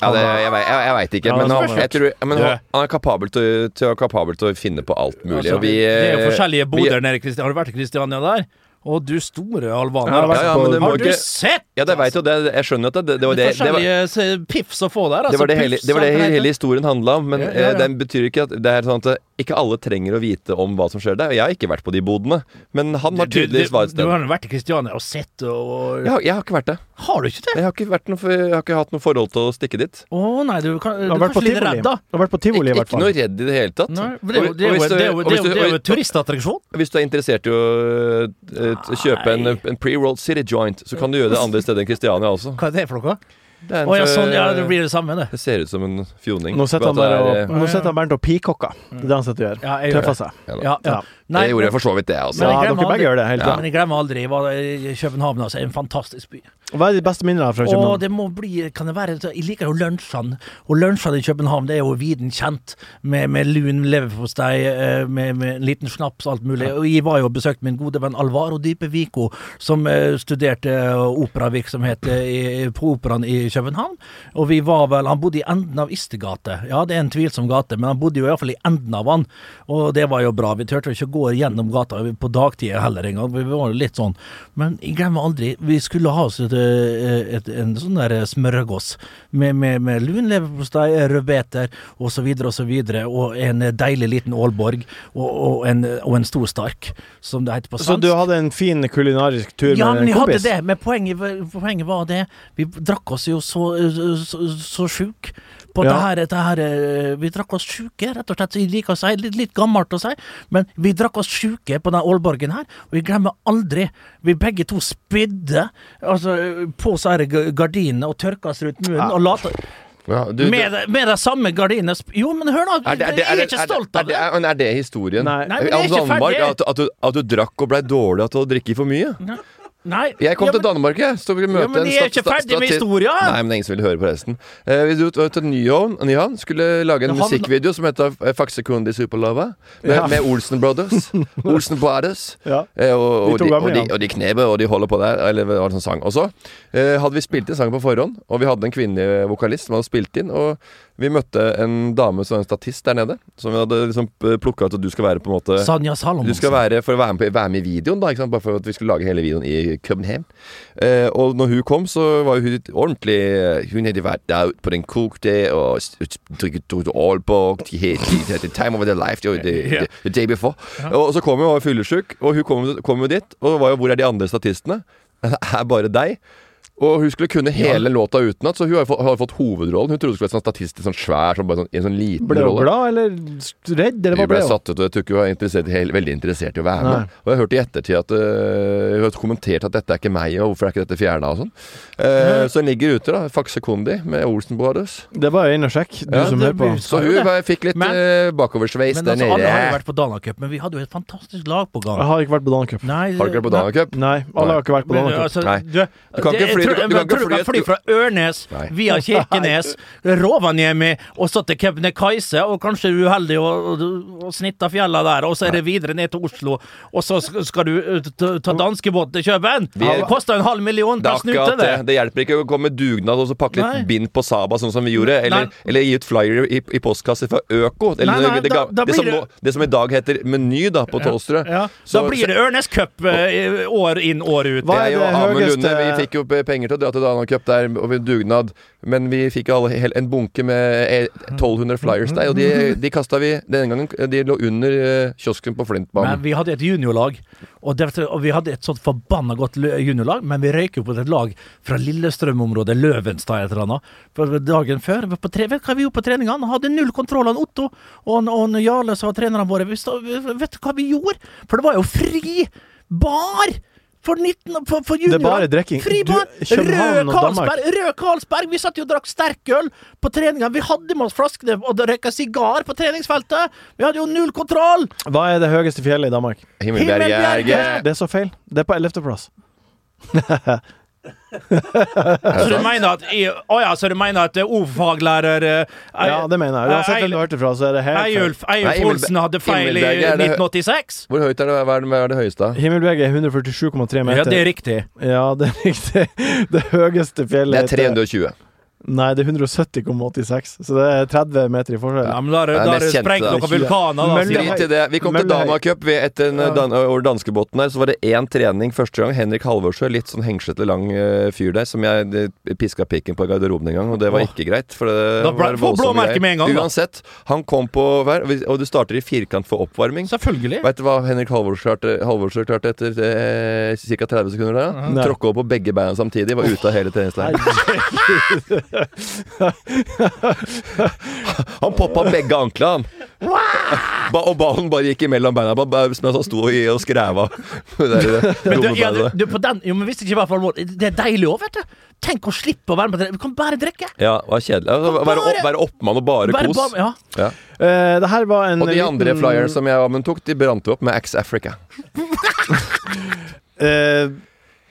C: Ja, det, jeg vei- jeg, jeg veit ikke,
B: Ja,
C: men,
B: men
C: han,
B: spørs
C: jeg tror, ja, men
E: Det-
C: han, han er kapabel til, å- til, å- kapabel til å finne på alt mulig.
E: Altså,
C: og vi,
E: det er jo
C: eh,
E: forskjellige boder
C: vi-
E: nede i Kristiania. Har du vært i Kristiania der? Å, du store
B: Ja,
E: alvaner.
B: det
E: altså.
B: var-
C: Ja, ja, men det må
E: Har du
C: ikke
E: sett?! altså?
C: Ja, det vet jo det. Jeg skjønner jo at det, det var
E: Det
C: det det
E: er
C: var,
E: forskjellige se- piffs å få der.
C: det,
E: Altså,
C: var det, hele,
E: Piffs,
C: det, var det
E: som
C: hele,
E: heter.
C: hele historien handla om, men
E: Ja, ja,
C: eh,
E: ja.
C: den betyr ikke at det er sånn at eh, ikke alle trenger å vite om hva som skjer der. Og jeg har ikke vært på de bodene, men han har
E: Du-
C: tydeligvis
E: du-
C: vært et
E: Du
C: sted.
E: har jo vært i Kristiania og sett og
C: Jeg har, jeg har ikke vært det.
E: Har du ikke det?
C: Jeg har ikke, vært noe, for- jeg har ikke hatt noe forhold til å stikke dit.
E: Å nei, du, kan,
B: Jeg
E: du
B: har
E: er
B: vært på
E: kanskje litt
B: tivoli.
E: redd, da.
B: Jeg har vært på tivoli, i
C: Ikke,
B: hvert
C: ikke
B: fall.
C: noe redd i det hele tatt.
E: Nei, for det er jo-
C: Og-
E: det er
C: og
E: jo-
C: hvis du-
E: det er
C: og
E: jo- det er
C: hvis
E: jo-
C: du-
E: det er jo
C: og-
E: en turistattraksjon.
C: Hvis du er interessert i å eh, t- kjøpe en,
E: Nei.
C: en pre-rolled city joint, så kan du gjøre det andre steder enn Kristiania også.
E: Hva er det for noe?
C: Det, er en,
E: Å ja, sånn, ja,
C: eh,
E: det blir det samme, det.
C: det ser ut som en fjoning.
B: Nå sitter
C: Bare
B: han
C: at
B: der
C: det er,
B: og Nå sitter han Bernt og peacocker. Det er det han sitter og gjør.
E: Mm. Ja, jeg gjør
B: Treffer seg.
C: eh, ja da.
E: Ja, ja.
B: Ja.
E: Nei,
C: det gjorde jeg for så vidt, det,
B: Så
C: altså.
E: Men
B: ja,
E: jeg
B: dere
E: glemmer
B: begge
E: aldri-
B: gjør det hele
E: men
B: tiden.
E: jeg glemmer aldri hva det- København altså, er en fantastisk by.
B: Hva er de beste minnene fra
E: Og
B: København?
E: det må bli Kan det være Jeg liker jo lunsjene. Og lunsjene i København det er jo viden kjent, med, med lun leverpostei, eh, med, med en liten snaps og alt mulig. Og jeg var jo og besøkte min gode venn Alvaro Dype Vico, som eh, studerte eh, operavirksomhet eh, i, på operaen i København. Og vi var vel Han bodde i enden av Istegate. Ja, det er en tvilsom gate, men han bodde jo iallfall i enden av han. Og det var jo bra. Vi turte jo ikke gå gjennom gata på dagtid heller engang. Vi var jo litt sånn. Men jeg glemmer aldri Vi skulle ha oss et, eh, et, en sånn der smørgås med, med, med lun leverpostei, rødbeter og så videre og så videre, og en deilig liten Aalborg og, og, en, og en stor stark, som det heter på
B: Så
E: svensk.
B: du hadde en fin kulinarisk tur
E: Ja,
B: med
E: men
B: en
E: jeg hadde
B: kompis?
E: det, men poenget, poenget var det Vi drakk oss jo så, så, så sjuk på
B: Ja.
E: det her, det her eh, Vi drakk oss sjuke, rett og slett. Så jeg liker å si litt, litt gammelt å si, men vi drakk oss sjuke på den Aalborgen her, og jeg glemmer aldri Vi begge to spydde altså, på så her ga- gardinene og tørka oss rundt munnen og lata
C: Ja, Ah, du, du-
E: Med, med de samme gardinene sp- Jo, men hør nå,
C: er det- er det- er
E: jeg
C: det-
E: er ikke
C: er det-
E: stolt av det.
C: Er det, er det historien?
B: Nei.
E: Nei, men jeg er
C: Om
E: ikke
C: Danmark,
E: ferdig.
C: at, at, du, at du drakk og blei dårlig av å drikke for mye?
E: Nei,
C: Jeg kom
E: ja,
C: til Danmark, jeg. Så vi møte
E: Ja,
C: en
E: men jeg er
C: sta-
E: ikke ferdig
C: sta-
E: med
C: statist-
E: historia.
C: Nei, men det er ingen som vil høre på resten. Eh, vi dro til- til Nyhavn, Nyhavn skulle lage en
E: Nyhavn.
C: musikkvideo som heter eh, Faxe Kundi Superlova, med,
B: Ja.
C: med Olsen
E: (laughs)
C: Brothers. Olsen Brothers.
B: Ja.
C: Eh, og,
B: De
C: og,
B: to
C: de,
B: gamle,
C: og, de,
B: ja.
C: og de kneber, og de holder på der. Eller det var en sånn sang. Og så eh, hadde vi spilt inn sangen på forhånd, og vi hadde en kvinnelig vokalist som hadde spilt inn. Og vi møtte en dame som var en statist der nede, som vi hadde liksom plukka ut at du skal være på en måte
E: Sanja Salomonsen.
C: du skal være, for å være med, på, være med i videoen, da, ikke sant? bare for at vi skulle lage hele videoen i København. Eh, og når hun kom, så var jo hun ordentlig eh, Hun hadde vært der ute på den kokte og s- s- drikket drukket Aalborg de had, de had the time of their life the, the, the, the day before. Og så kom hun og var fyllesyk, og hun kom, kom jo dit. Og var jo 'Hvor er de andre statistene?' (laughs) Det er bare deg. Og hun skulle kunne hele låta utenat, så hun har jo fått, har fått hovedrollen. Hun trodde hun skulle være sånn statistisk sånn svær, sånn, bare sånn, i en sånn liten
B: Ble hun
C: rolle.
B: glad, eller redd, eller
C: Vi
B: hva
C: ble
B: ble hun?
C: satt ut, og jeg tror ikke hun var interessert, helt, veldig interessert i å være med. Og jeg hørte i ettertid at øh, hun hadde kommentert at dette er ikke meg, og hvorfor er ikke dette fjerna og sånn. Eh, så den ligger ute, da. Faxe Kondi med Olsen Brothers.
B: Det var jo inn og sjekk, du
C: Ja,
B: som
E: det
B: hører på.
E: blir-
C: Så
E: Ja,
C: hun
E: det.
C: var, fikk litt
E: Men-
C: eh, bakoversveis
E: Men
C: der
E: altså, alle har jo
C: nede.
E: vært på Dana Cup, men vi hadde jo et fantastisk lagprogram.
B: Jeg har ikke vært på Danacup.
E: Nei,
C: Har du ikke vært på
E: nei,
C: Dana Cup?
B: Nei, alle har ikke vært på
E: men,
B: Danacup.
E: altså,
C: Nei.
E: Du,
C: Du kan ikke
E: jeg
C: fly- du
E: tror-
C: kan- du kan
E: men
C: ikke
E: tror du kan
C: fly-
E: fly fra Ørnes
C: Nei.
E: via Kirkenes, Rovaniemi, og så til Kebnekaise, og kanskje du er uheldig og, og, og snitter fjella der, og så er det videre ned til Oslo, og så sk- skal du uh, ta- ta danskebåt til København.
C: er-
E: Det koster en halv million
C: Det,
E: per
C: er akkurat
E: snute,
C: det.
E: det.
C: det hjelper ikke å komme med dugnad og så pakke litt
E: Nei.
C: bind på Saba, sånn som vi gjorde. Eller,
E: Nei.
C: eller gi ut flyer i, i postkasse fra Øko. Eller
E: Nei, nei,
C: det,
E: da-
C: ga-
E: da
C: det, som
E: blir
C: nå, det som i dag heter Meny da, på Tolstrø.
E: Ja. Da
C: Så-
E: blir det Ørnes Cup eh, år inn, år ut.
B: Hva er
C: Jeg og
B: det
C: Amund Lunde
B: høyeste-
C: vi fikk jo penger til å dra til Dana Cup der og ved dugnad, men vi fikk alle hel- en bunke med
B: Mm.
C: 1200 flyers der, og de, de kasta vi den gangen De lå under eh, kiosken på
E: Men
C: Flintbanen.
E: vi hadde et juniorlag, og, det, og vi hadde et sånt forbanna godt lø- juniorlag, men vi røyker jo på et lag fra Lillestrøm-området, Løvenstad et eller annet. For dagen før, vi var på tre, vet du hva vi gjorde på treninga? Han hadde null kontroll, han Otto og, han, og han Jarle, som var trenerne våre. Vi sta, vi- vet du hva vi gjorde? For det var jo fri bar! For, 19, og- for, for
B: er bare
E: juniorene.
B: drikking.
E: Fri
B: Du-
E: bar!
B: København
E: Rød
B: og Danmark.
E: Carlsberg! Rød Carlsberg! Vi satt jo og drakk sterkøl på treninga. Vi hadde med oss flaskene og røyka sigar på treningsfeltet! Vi hadde jo null kontroll!
B: Hva er det høyeste fjellet i Danmark?
E: Himmelbjerget.
C: altså- Himmelbjerget!
B: Det er så feil. Det er på 11. plass.
E: Så du mener at i- Å ja, så du mener at eh, ordfaglærer eh, Ei-
B: Ja, det mener jeg. Uansett hvem du hørte fra, så er det helt feil.
E: Eiulf Eiulf
C: Nei, Himmelbe-
E: Olsen hadde feil i
C: Himmelberget er det hø-
E: 1986?
C: Hvor høyt er det? Hva er det, hva er det høyeste?
B: Himmelbjerget er 147,3 meter.
E: Ja, det er riktig.
B: Ja, (laughs) det er riktig. Det høyeste
C: Det
B: fjellet
C: er 320.
B: Nei, det er 170,86, så det er 30 meter i forskjell.
E: Ja, men da er det-
C: Nei,
E: da er
C: mest
E: det
C: kjente,
E: sprengt
C: da.
E: noen vulkaner, da.
B: Men-
E: sier de.
C: Drit i det. Vi kom
B: Men
C: til
B: det er-
C: Dama Cup. Vi etter en, eh, dan over danskebåten der, så var det én trening første gang. Henrik Halvorsø, litt sånn hengslete lang eh, fyr der, som jeg eh, piska pikken på i garderoben en gang, og det var
E: Åh.
C: ikke greit. For det
E: Da ble-
C: var
E: får
C: voldsomme
E: blåmerke
C: greier.
E: med en gang, da.
C: Uansett, han kom på hver, og du starter i firkant for oppvarming.
E: Selvfølgelig.
C: Veit du hva Henrik Halvorsø klarte, Halvorsø klarte etter eh, ca. 30 sekunder der? da?
B: Nei.
C: Tråkka over på begge beina samtidig, var ute av hele treningsleiren. Han poppa begge anklene, han. Ba, og ballen bare gikk imellom beina ba- ba- mens han sto i og skræva. (laughs) Det der, eh, det,
E: Men du,
C: dumme
E: ja, du,
C: beinet.
E: du, på den, jo, men hvis det ikke var for alvor, det er deilig òg, vet du. Tenk å slippe å være med på det. Du kan bare drikke.
C: ja, det var kjedelig. Altså, Være, opp, være oppmann og bare,
E: Bare,
C: kos.
E: bare, ja.
C: Ja.
B: (laughs) Eh, det her var en
C: Og de andre
B: liten-
C: flyerne som jeg og Amund tok, de brant jo opp med Axe Africa.
B: Eh,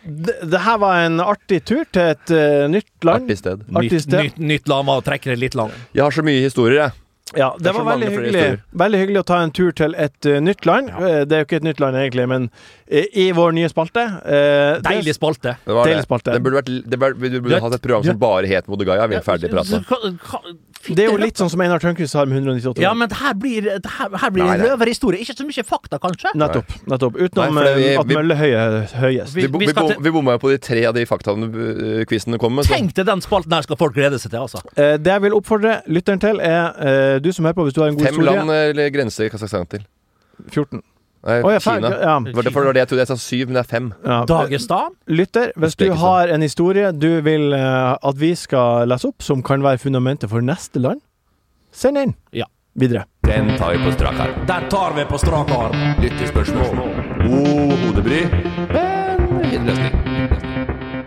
B: det, det her var en artig tur til et eh, nytt land.
C: Artig sted.
B: Artig
E: Nytt,
B: sted.
E: nytt, nytt lama og trekke det litt langt.
C: Jeg har så mye historier, jeg.
B: Ja, det,
C: Det er så
B: var
C: mange
B: veldig
C: flere
B: hyggelig.
C: historier.
B: veldig hyggelig å ta en tur til et eh, nytt land. Eh, det er jo ikke et nytt land, egentlig, men eh, i vår nye spalte eh, det-
E: Deilig spalte.
C: Det var
B: Deilig
C: det.
B: spalte.
C: Det burde vært, det burde, du burde
E: Dødt.
C: hatt et program som
B: Dødt.
C: bare het Modigaya. Vi er ferdig prata.
B: Det er jo litt sånn som Einar Tørnquist har med 198
E: Ja, men det her blir det her, her blir
C: Nei,
E: en
C: nei.
E: røverhistorie. Ikke så mye fakta, kanskje.
B: Nettopp. nettopp Utenom
C: Nei, for det-
B: eh,
C: vi-
B: at
C: vi-
B: Mølle Høie er høyest.
E: Vi-
C: Vi, bo- vi,
E: skal
C: bom-
E: til-
C: vi bomma jo på de tre av de faktaene eh, quizen kom med. så-
E: Tenk deg den spalten her skal folk glede seg til, altså.
B: Eh, det jeg vil oppfordre lytteren til, er eh, du som hører på, hvis du har en god
C: Fem
B: historie
C: land eh, eller grenser Kasakhstan til.
B: 14.
C: Nei,
B: Å, ja, faen,
C: Kina.
B: ja,
C: Det var derfor det var det jeg trodde jeg sa syv, men det er fem.
B: ja.
E: Dagestan.
B: Lytter, hvis du
C: Usbekistan.
B: har en historie du vil eh, at vi skal lese opp, som kan være fundamentet for neste land, send inn
E: Ja.
B: videre.
C: Den tar vi på strak arm.
E: Der tar vi på strak arm.
C: Lyttespørsmål. God hodebry. Men fin løsning.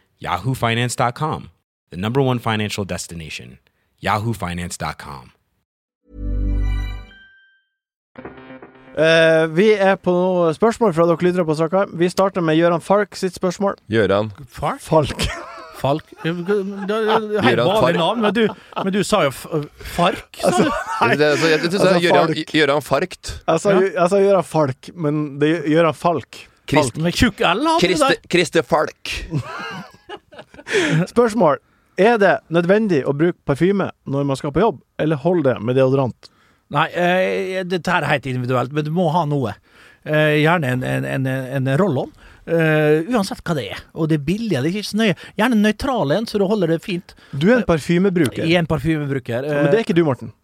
F: yahoofinance.com, the number one financial destination, yahoofinance.com.
B: Eh, vi er på spørsmål fra dere lyttere på Saka. Vi starter med Gøran Falk sitt spørsmål.
C: Gjøran.
E: Falk?
B: Falk.
E: Falk. Det er Helt
C: Gjøran Fark.
E: vanlig (laughs) navn, men du, men du sa jo f Fark, sa du?
C: Jeg synes jeg synes
B: Altså,
C: det er Gjøran,
B: Fark.
C: Gjøran Farkt.
B: Jeg sa,
E: Ja.
B: jeg sa Gøran Falk, men det er Gøran Falk.
C: Krist-
E: Med tjukk L hadde du
C: Christer
E: der.
C: Christer Falk.
B: Spørsmål. Er det nødvendig å bruke parfyme når man skal på jobb, eller holder det med deodorant?
E: Nei, eh, dette her er helt individuelt, men du må ha noe. Eh, gjerne en, en, en, en roll-on. Eh, uansett hva det er. Og det er billig, det er ikke så nøye. Gjerne en nøytral en, så du holder det fint
B: Du er en parfymebruker.
E: i en parfymebruker. Eh,
B: Men det er ikke du, Morten.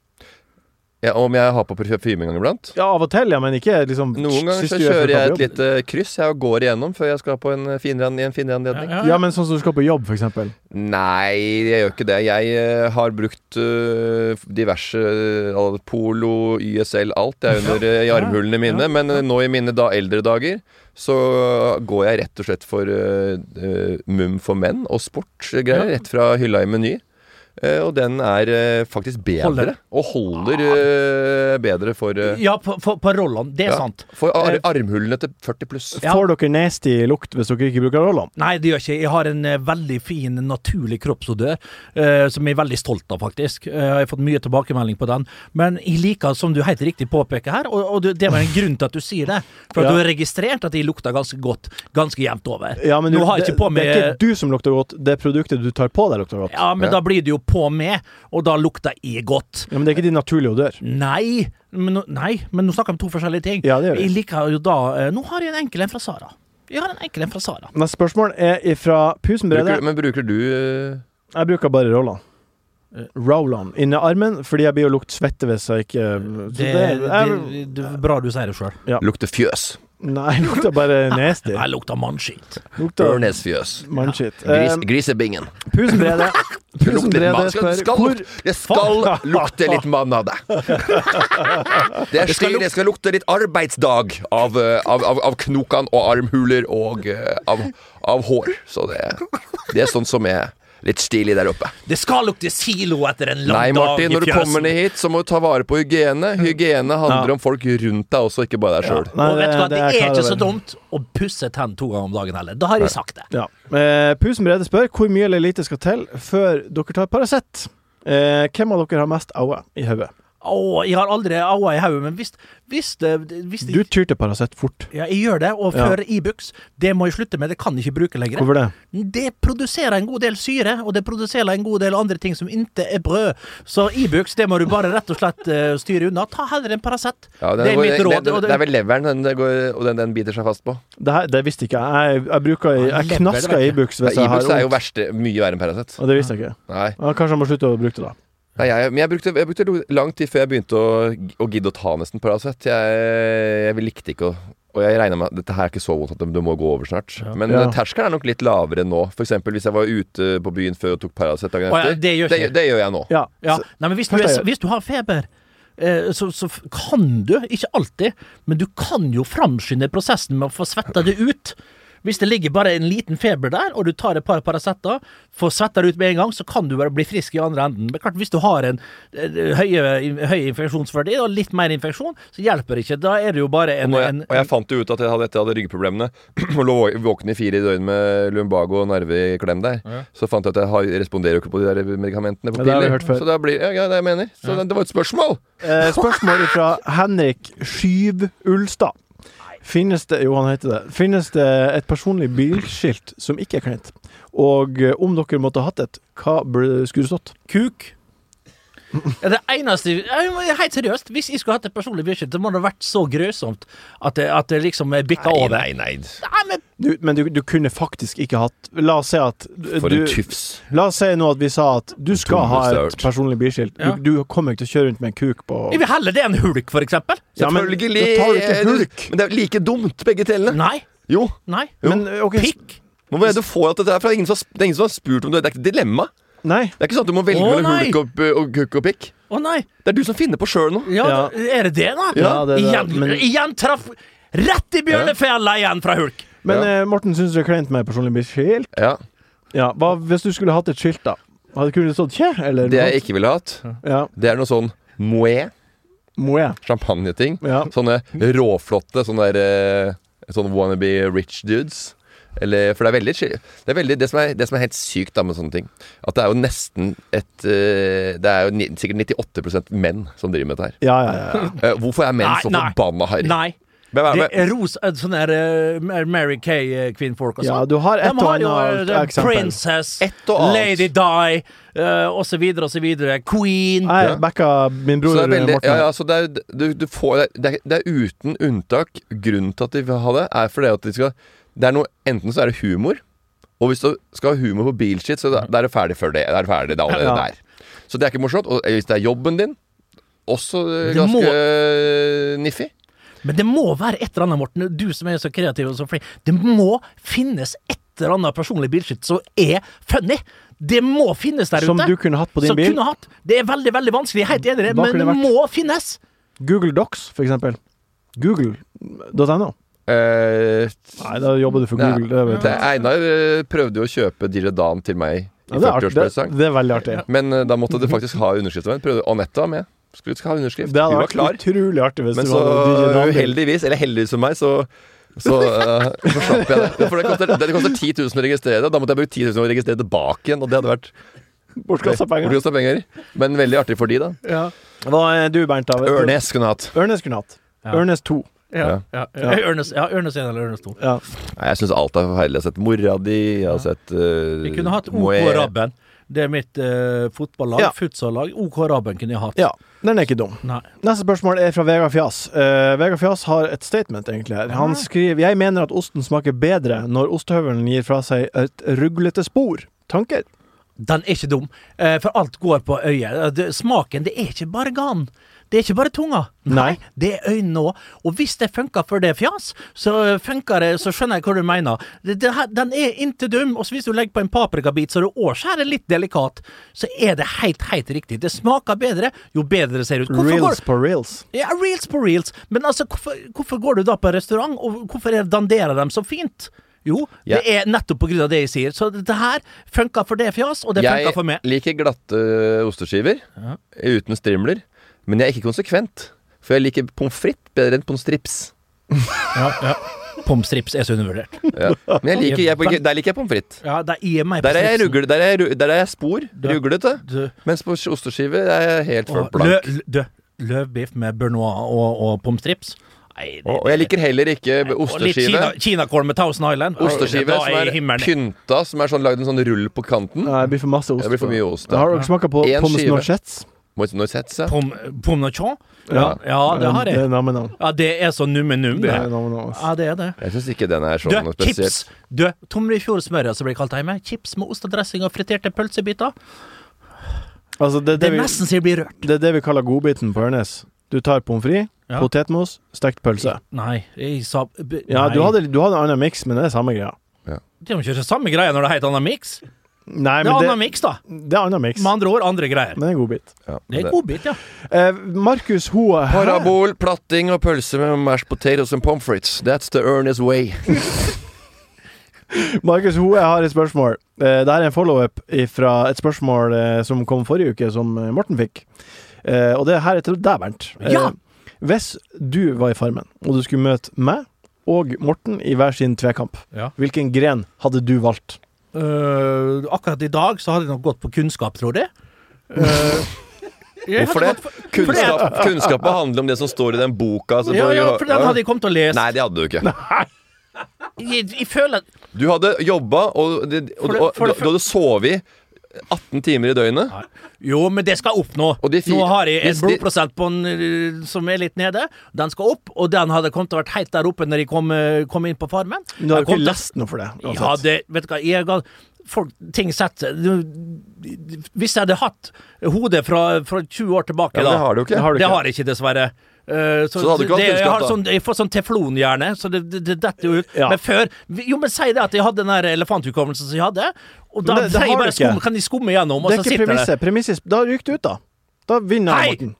C: Ja, om jeg har på parfyme en gang iblant?
B: Ja, av og til, ja, men ikke liksom
C: Noen ganger
B: sist
C: så
B: du er før
C: kjører
B: du
C: jeg
B: er på
C: et
B: jobb.
C: lite kryss jeg og går igjennom før jeg skal på en eh, finere, en finere anledning.
E: ja,
B: Ja, men sånn som du skal på jobb, for eksempel.
C: Nei, jeg gjør ikke det. Jeg eh, har brukt eh, diverse eh, alle- Polo, YSL, alt. Det er under eh, i armhulene mine. Men eh, nå i mine da eldre dager så går jeg rett og slett for eh, eh, Mum for menn og sportsgreier. Rett fra hylla i Meny. Eh, og den er eh, faktisk bedre.
E: Holder.
C: Og holder eh, bedre for, eh,
E: Ja, på, på, på roll-on. Det er
C: ja,
E: sant.
C: for ar
E: Eh,
C: armhulene til 40 pluss.
E: Ja.
B: Får dere nasty lukt hvis dere ikke bruker rollene?
E: Nei, det gjør ikke. jeg. Jeg har en eh, veldig fin, naturlig kroppsodør, eh, som jeg er veldig stolt av, faktisk. Eh, jeg har fått mye tilbakemelding på den. Men jeg liker, som du helt riktig påpeker her, og, og du, det var en grunn til at du sier det, for at
B: Ja.
E: du har registrert at jeg lukter ganske godt, ganske jevnt over.
B: Ja, men du,
E: Nå har jeg
B: det,
E: ikke på meg
B: det er ikke du som lukter godt, det er produktet du tar på deg lukter godt. Ja.
E: Ja, men
C: Ja.
E: da blir det jo på meg, og da lukter jeg godt.
B: men det er ikke din naturlige odør.
E: Nei, men, nå- nei, men nå snakker vi om to forskjellige ting.
B: Ja, det gjør vi.
E: jeg liker jo da eh, Nå har jeg en enkel en fra Sara. Jeg har en enkel en fra Sara.
B: Neste spørsmål er fra
C: Bruker,
B: Pusenbrede.
C: men bruker du eh,
B: Jeg bruker bare rollene.
E: Eh,
B: Rowland inni armen, fordi jeg blir å lukte svette hvis jeg ikke så
E: Det, Eh, det,
B: det- jeg,
E: det, er bra du sier det sjøl.
C: Lukter fjøs.
B: Nei, jeg lukter bare
E: (laughs)
B: nasty.
E: Jeg lukter mannskitt.
B: Lukter
C: Ørnesfjøs.
B: mannskitt.
C: Gris,
B: Eh,
C: grisebingen.
B: Pusen Brede
C: (laughs) Det
B: Pusen
C: lukter
B: Brede
C: mann. Skal,
B: spør
C: skal,
B: hvor
C: luk- det skal
B: Faen.
C: lukte litt mann av deg. Det, er slik, det skal lukte litt arbeidsdag av, eh, av, av, av knokene og armhuler og eh, av, av hår. Så det, det er sånn som er litt stilig der oppe.
E: Det skal lukte silo etter en lang
C: Nei, Martin,
E: dag i
C: når du kommer
E: fjøsen.
C: ned hit, så må du ta vare på hygiene. Hygiene handler om folk rundt deg også, ikke bare deg sjøl.
B: Nei,
E: og vet du hva, det,
B: jeg
E: er
B: klar
E: ikke
B: over.
E: så dumt å pusse tenn to ganger om dagen heller. Da har jeg sagt det.
B: Ja. Eh, Pusen Brede spør hvor mye eller lite skal til før dere tar Paracet. Eh, hvem av dere har mest aue i hodet?
E: Å, jeg har aldri aua i hodet, men hvis, hvis, det- hvis det-
B: Du tyr til Paracet fort.
E: ja, jeg gjør det, og
B: Ja.
E: før Ibux, det må jeg slutte med, det kan jeg ikke bruke lenger.
B: Hvorfor det?
E: Det produserer en god del syre, og det produserer en god del andre ting som ikke er brød. Så Ibux, det må du bare rett og slett eh, styre unna. Ta heller en Paracet.
C: Ja, den
E: det er
C: går-
E: mitt råd.
C: den-
E: og
C: Det er vel leveren den, det går- og den, den biter seg fast på.
B: Det, her, det visste ikke jeg. Jeg, jeg bruker Jeg
E: lever
B: knasker
E: det
B: Ibux hvis jeg har
C: Ibux er jo
B: vondt.
C: verste, mye verre enn Paracet.
B: Og det visste jeg ikke.
C: Nei.
B: Ja, kanskje jeg må slutte å bruke det, da.
C: Nei, jeg, men jeg brukte, jeg brukte lo- lang tid før jeg begynte å, å gidde å ta nesten Paracet. Jeg, jeg likte ikke å og jeg regner med at dette her er ikke så vondt at det- det må gå over snart. Men
B: Ja.
C: eh, terskelen er nok litt lavere nå. F.eks. hvis jeg var ute på byen før og tok Paracet dagen
E: Å, ja,
C: etter.
E: det gjør ikke
C: det,
E: jeg.
C: gjør jeg nå.
B: Ja.
E: Ja,
B: Så,
E: nei, men hvis du,
B: Først
E: er,
B: er-
E: hvis du har feber, eh, så, så f- kan du, ikke alltid, men du kan jo framskynde prosessen med å få svetta det ut. Hvis det ligger bare en liten feber der, og du tar et par Paracet, får svetta det ut med en gang, så kan du bare bli frisk i andre enden. Men klart, hvis du har en eh, høye- høy infeksjonsverdi og litt mer infeksjon, så hjelper det ikke. Da er det jo bare en,
C: Når jeg,
E: en
C: og jeg fant jo ut at jeg hadde, etter jeg hadde ryggproblemene (clears throat) og lå vå- våken i fire døgn med lumbago og nerve i klem der, så fant jeg at jeg har, responderer jo ikke på de der medikamentene på
B: Ja, det har vi
C: piller.
B: hørt før.
C: Så da blir, ja, ja, det jeg mener. Så det, det var et spørsmål!
B: eh, spørsmål fra Henrik Skyv Ulstad. Finnes det Jo, han heter det. Finnes det et personlig bilskilt som ikke er kleint? Og eh, om dere måtte ha hatt et, hva burde det skulle stått?
E: Kuk. Ja, Det eneste jeg må- Helt seriøst, hvis jeg skulle hatt et personlig beskjed, så må det ha vært så grøsomt at det, at det liksom bikka over.
C: nei, nei.
E: Nei, men
B: Du, men du, du kunne faktisk ikke hatt La oss si at du,
C: For en tufs.
B: La oss si nå at vi sa at du skal ha et
C: Tommestørt.
B: personlig bilskilt.
E: Ja.
B: Du, du kommer ikke til å kjøre rundt med en kuk på
E: Jeg vil heller det enn hulk, for eksempel.
B: Ja, men
C: Selvfølgelig!
B: da tar du ikke
C: er det-
B: hulk.
C: Men det er jo like dumt, begge delene.
E: Nei.
C: Jo.
E: Nei.
B: Men,
C: eh,
B: ok,
E: Pikk.
C: Hvor er det du får at dette er fra? Ingen som, har sp- det er ingen som har spurt om det. Det er ikke et dilemma.
B: Nei.
C: Det er ikke sånn at du må velge
E: Å,
C: mellom
E: nei.
C: hulk og, eh, og kukk og pikk.
E: Å nei.
C: Det er du som finner på sjøl nå.
E: Ja,
B: Ja.
E: er det det, da?
B: Ja, det er det,
E: igjen,
B: men-
E: igjen traff Rett i bjørnefella igjen fra hulk.
B: Men
C: Ja.
B: eh, Morten, syns du det er kleint med personlig bilskilt?
C: Ja,
B: Ja, hva hvis du skulle hatt et skilt, da? Hadde kunne det stått 'kje'? Eller
C: Det
B: noe
C: jeg
B: sånt?
C: ikke ville hatt,
B: Ja.
C: det er noe sånn moé,
B: Må jeg?
C: champagneting.
B: Ja.
C: Sånne råflotte sånne der, eh, sånne wannabe rich dudes. Eller, for det er veldig, skil- det, er veldig det, som er, det som er helt sykt da med sånne ting, at det er jo nesten et eh, Det er jo ni, sikkert 98 menn som driver med dette her.
B: Ja, ja, ja.
C: (laughs) Eh, Hvorfor er menn
E: Nei,
C: så
E: nei.
C: forbanna harry?
E: Nei.
C: Hvem er-
E: Det er ros eh, sånn der eh, Mary Kay-kvinnfolk og sånn.
B: Ja, du har et
E: De har
B: og
E: jo eh,
B: annet
E: The
B: eksempel.
E: Princess,
C: Et og annet.
E: Lady Di, uh, og så videre og så videre. Queen.
B: Jeg backa min
C: Så
B: bror
C: det er veldig,
B: Morten.
C: ja, ja, så det er, du, du får, det, er, det er uten unntak. Grunnen til at de vil ha det, er fordi at de skal Det er noe Enten så er det humor, og hvis du skal ha humor på bilshit, så da, da er det ferdig før det. Da er det ferdig, det er allerede
B: Ja.
C: der. Så det er ikke morsomt. Og hvis det er jobben din, også eh,
E: Det må-
C: ganske eh, niffig.
E: Men det må være et eller annet, Morten, du som er så kreativ og så flink. Det må finnes et eller annet personlig bilskitt som er funny. Det må finnes der
B: Som
E: ute.
B: du kunne hatt på din
E: Som
B: bil.
E: kunne hatt. Det er veldig, veldig vanskelig, jeg er helt enig i det,
B: Hva
E: men
B: kunne
E: det
B: det vært?
E: må finnes.
B: Google Docs, for eksempel. Google.no.
C: Eh,
B: Nei, da jobber du for
C: Nei.
B: Google. Det, vet
C: det-
B: jeg.
C: Einar eh, prøvde jo å kjøpe Dirre Dan til meg
B: Ja,
C: i
B: det, er artig. det,
C: 40-årspresang,
B: det er veldig artig.
C: men eh, da måtte du faktisk ha underskrift. Men Prøvde Anette var med. Skulle ikke ha underskrift.
B: Det hadde
C: Hun var
B: vært
C: klar.
B: utrolig artig hvis
C: Men
B: du
C: så
B: hadde digital.
C: uheldigvis, eller heldigvis for meg, så så eh, forslapp jeg det. For det koster, det koster 10 000 å registrere det. Da måtte jeg bruke 10 000 å registrere tilbake igjen, og det hadde vært
B: Bortkasta
C: Hvor
B: penger.
C: koster penger. Men veldig artig for de, da.
B: Hva er du, Bernt? da?
C: Ørnes kunne hatt.
B: Ørnes kunne hatt. Ørnes 2.
C: Ja.
E: ja. Ørnes, ja, Ørnes 1 eller Ørnes 2.
B: Ja.
C: Nei, jeg syns alt er forferdelig. Jeg har sett mora di, jeg har sett eh,
E: Vi kunne hatt OK
C: Moe-
E: Rabben. Det er mitt eh, fotballag,
B: Ja.
E: futsallag. OK Rabben kunne jeg hatt.
B: ja. Den er ikke dum.
E: Nei.
B: Neste spørsmål er fra Vegard Fjas. Eh, Vegard Fjas har et statement, egentlig. her. Han skriver Jeg mener at osten smaker bedre når ostehøvelen gir fra seg et ruglete spor. Tanker?
E: Den er ikke dum, eh, for alt går på øyet. Eh, det- Smaken, det er ikke bare ganen. Det er ikke bare tunga.
B: Nei.
E: (laughs) Det er øynene òg. Og hvis det funker for det fjas, så funker det, så skjønner jeg hva du mener. Det, det her, den er inntil dum, og så hvis du legger på en paprikabit så du òg skjærer litt delikat, så er det helt, helt riktig. Det smaker bedre jo bedre det ser ut. Hvorfor går-
B: Reels på reels.
E: ja, reels på reels. Men altså, hvorfor, hvorfor går du da på restaurant, og hvorfor er- danderer de så fint? Jo,
C: Ja.
E: det er nettopp på grunn av det jeg sier. Så det her funka for det fjas, og det funka
C: Jeg
E: for meg.
C: liker glatte eh, osteskiver uten strimler, men jeg er ikke konsekvent. For jeg liker pommes frites bedre enn pommes strips.
E: Ja, Pommes strips er så undervurdert.
C: Ja. Men jeg liker, jeg, der liker jeg pommes frites.
E: Ja, der gir meg
C: Der er jeg, rugle, der er jeg, ru- der er jeg spor,
E: Du-
C: ruglete.
E: Du,
C: Mens på osteskive er jeg helt for
E: og, lø,
C: blank.
E: lø, du, løvbiff med bearnois og, og pommes strips? Nei, det-
C: Og og jeg liker heller ikke
E: og litt
C: osteskive.
E: kina- kinakål med Thousand Island.
C: Osteskive
E: Da
C: som
E: er
C: er
E: himmelen i.
C: pynta, som er sånn lagd en sånn rull på kanten.
B: Nei, det blir for masse ost.
C: Det blir for mye ost.
B: Har dere smaka på
C: En
B: pommes
C: skive.
B: norchettes?
C: Må ikke noe sett seg.
E: Pom- Pommes nochon?
B: Ja.
E: Ja, det har
B: Det er
E: jeg.
B: navnet.
E: Ja, det er så numme-num,
B: Det er
E: det.
B: navnet hans.
E: Ja, det er det.
C: Jeg syns ikke den er
E: Du,
C: sånn
E: chips!
C: spesielt.
E: Du, tomrefjordsmørja som blir altså, kalt hjemme. Chips med ost og dressing og friterte pølsebiter.
B: Altså, det, er
E: Det
B: det, vi,
E: er nesten så jeg blir rørt.
B: det er det vi kaller godbiten på Ørnes. Du tar pommes frites,
E: Ja.
B: potetmos, stekt pølse.
E: Nei, jeg sa b-
B: Ja,
E: nei.
B: du hadde, du hadde en annen miks, men det er samme greia.
E: Det er jo ikke det samme greia når det heter annen miks.
B: Nei,
E: Det er
B: men
E: annen
B: det,
E: miks, da.
B: det er annen miks.
E: Med andre ord andre greier.
B: Men det er en godbit.
C: Ja,
E: Det er
C: det-
E: godbit, ja.
B: Eh, Markus Hoa Hæ?
C: Parabol, platting og pølse med mashed potatoes and pommes frites. That's the earnest way.
B: Markus Hoe har et spørsmål. Eh, Dette er en follow-up fra et spørsmål eh, som kom forrige uke, som eh, Morten fikk. Eh, Og det her er til deg, Bernt. Eh,
E: Ja!
B: Hvis du var i Farmen, og du skulle møte meg og Morten i hver sin tvekamp,
E: Ja.
B: hvilken gren hadde du valgt?
E: Øh, akkurat i dag så hadde jeg nok gått på kunnskap, tror jeg. (laughs) Øh, jeg
C: Hvorfor
E: hadde
C: det?
E: gått for-
C: Kunnskap, kunnskapen handler om det som står i den boka. som-
E: Ja, ja, for den hadde jeg kommet til å lese.
C: Nei, det hadde du ikke.
E: Jeg, jeg føler at
C: Du hadde jobba, og, det- og,
E: For det-
C: og
E: for
C: du,
E: det-
C: du hadde sovet 18 timer i døgnet.
E: Jo, men det skal jeg oppnå.
C: Og de fi-
E: Nå har jeg en
C: hvis de-
E: blodprosent på en, øh, som er litt nede. Den skal opp, og den hadde kommet til å vært helt der oppe når jeg kom, øh, kom inn på farmen.
B: Du har jo
E: Jeg kom
B: ikke
E: til-
B: lest noe for det.
E: Ja,
B: uansett.
E: det, vet du hva, jeg har folk, ting setter du- Hvis jeg hadde hatt hodet fra, fra 20 år tilbake,
C: Ja, men
E: da
C: det har du ikke. Det har du
E: Det
C: ikke.
E: har jeg ikke, dessverre. Eh,
C: Så du hadde ikke hatt
E: det, jeg,
C: kunnskap,
E: har
C: da?
E: sånn, jeg får sånn teflonhjerne, så det, det, det detter jo ut.
B: Ja.
E: Men før Jo, men si det at jeg hadde den der elefanthukommelsen som jeg hadde, og da
B: Men det- det
E: sier jeg
B: har du
E: bare
B: ikke.
E: skum, kan de skumme gjennom, og
B: Det
E: så
B: er ikke
E: sitter det.
B: premisset. Premisset Da ryker du ut, da. Da vinner
E: Hei!
B: jeg, Morten.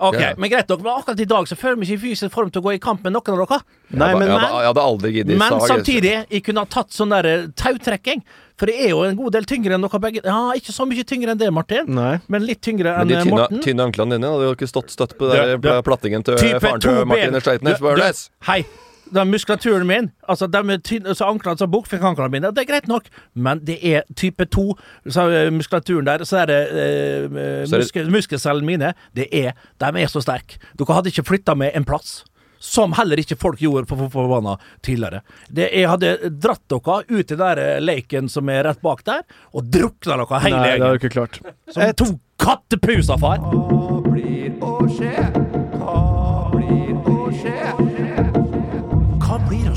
E: Ok,
C: Ja.
E: Men greit nok, men akkurat i dag så føler jeg meg ikke i fysisk form til å gå i kamp med noen av dere.
B: Nei,
C: jeg,
B: men
C: hadde, jeg hadde aldri giddet. altså.
E: Men
C: Sa jeg-
E: samtidig, jeg kunne ha tatt sånn der eh, tautrekking. For det er jo en god del tyngre enn dere begge. Ja, ikke så mye tyngre enn det, Martin.
B: Nei.
E: Men litt tyngre
C: Men
E: enn
C: de
E: eh,
C: tynne,
E: Morten.
C: tynne anklene dine hadde jo ikke stått støtt på
E: Du-
C: der,
E: du-
C: plattingen til eh, faren til Martin Sleipnes.
E: Du- du- Hei, den muskulaturen min, altså de er tynne, så anklene som bukfinkanklene mine, det er greit nok, men det er type 2, så eh, muskulaturen der, så er det eh,
C: Så er det-
E: muskel, muskelcellene mine, det er, de er så sterke. Dere hadde ikke flytta meg en plass. Som heller ikke folk gjorde på forbanna tidligere. Det, jeg hadde dratt dere ut i den der eh, leiken som er rett bak der, og drukna dere hele
B: Nei, det har
E: gjengen.
B: du ikke klart.
E: Som to kattepuser, far.
D: Hva blir å skje? Hva blir å skje?
E: Hva blir å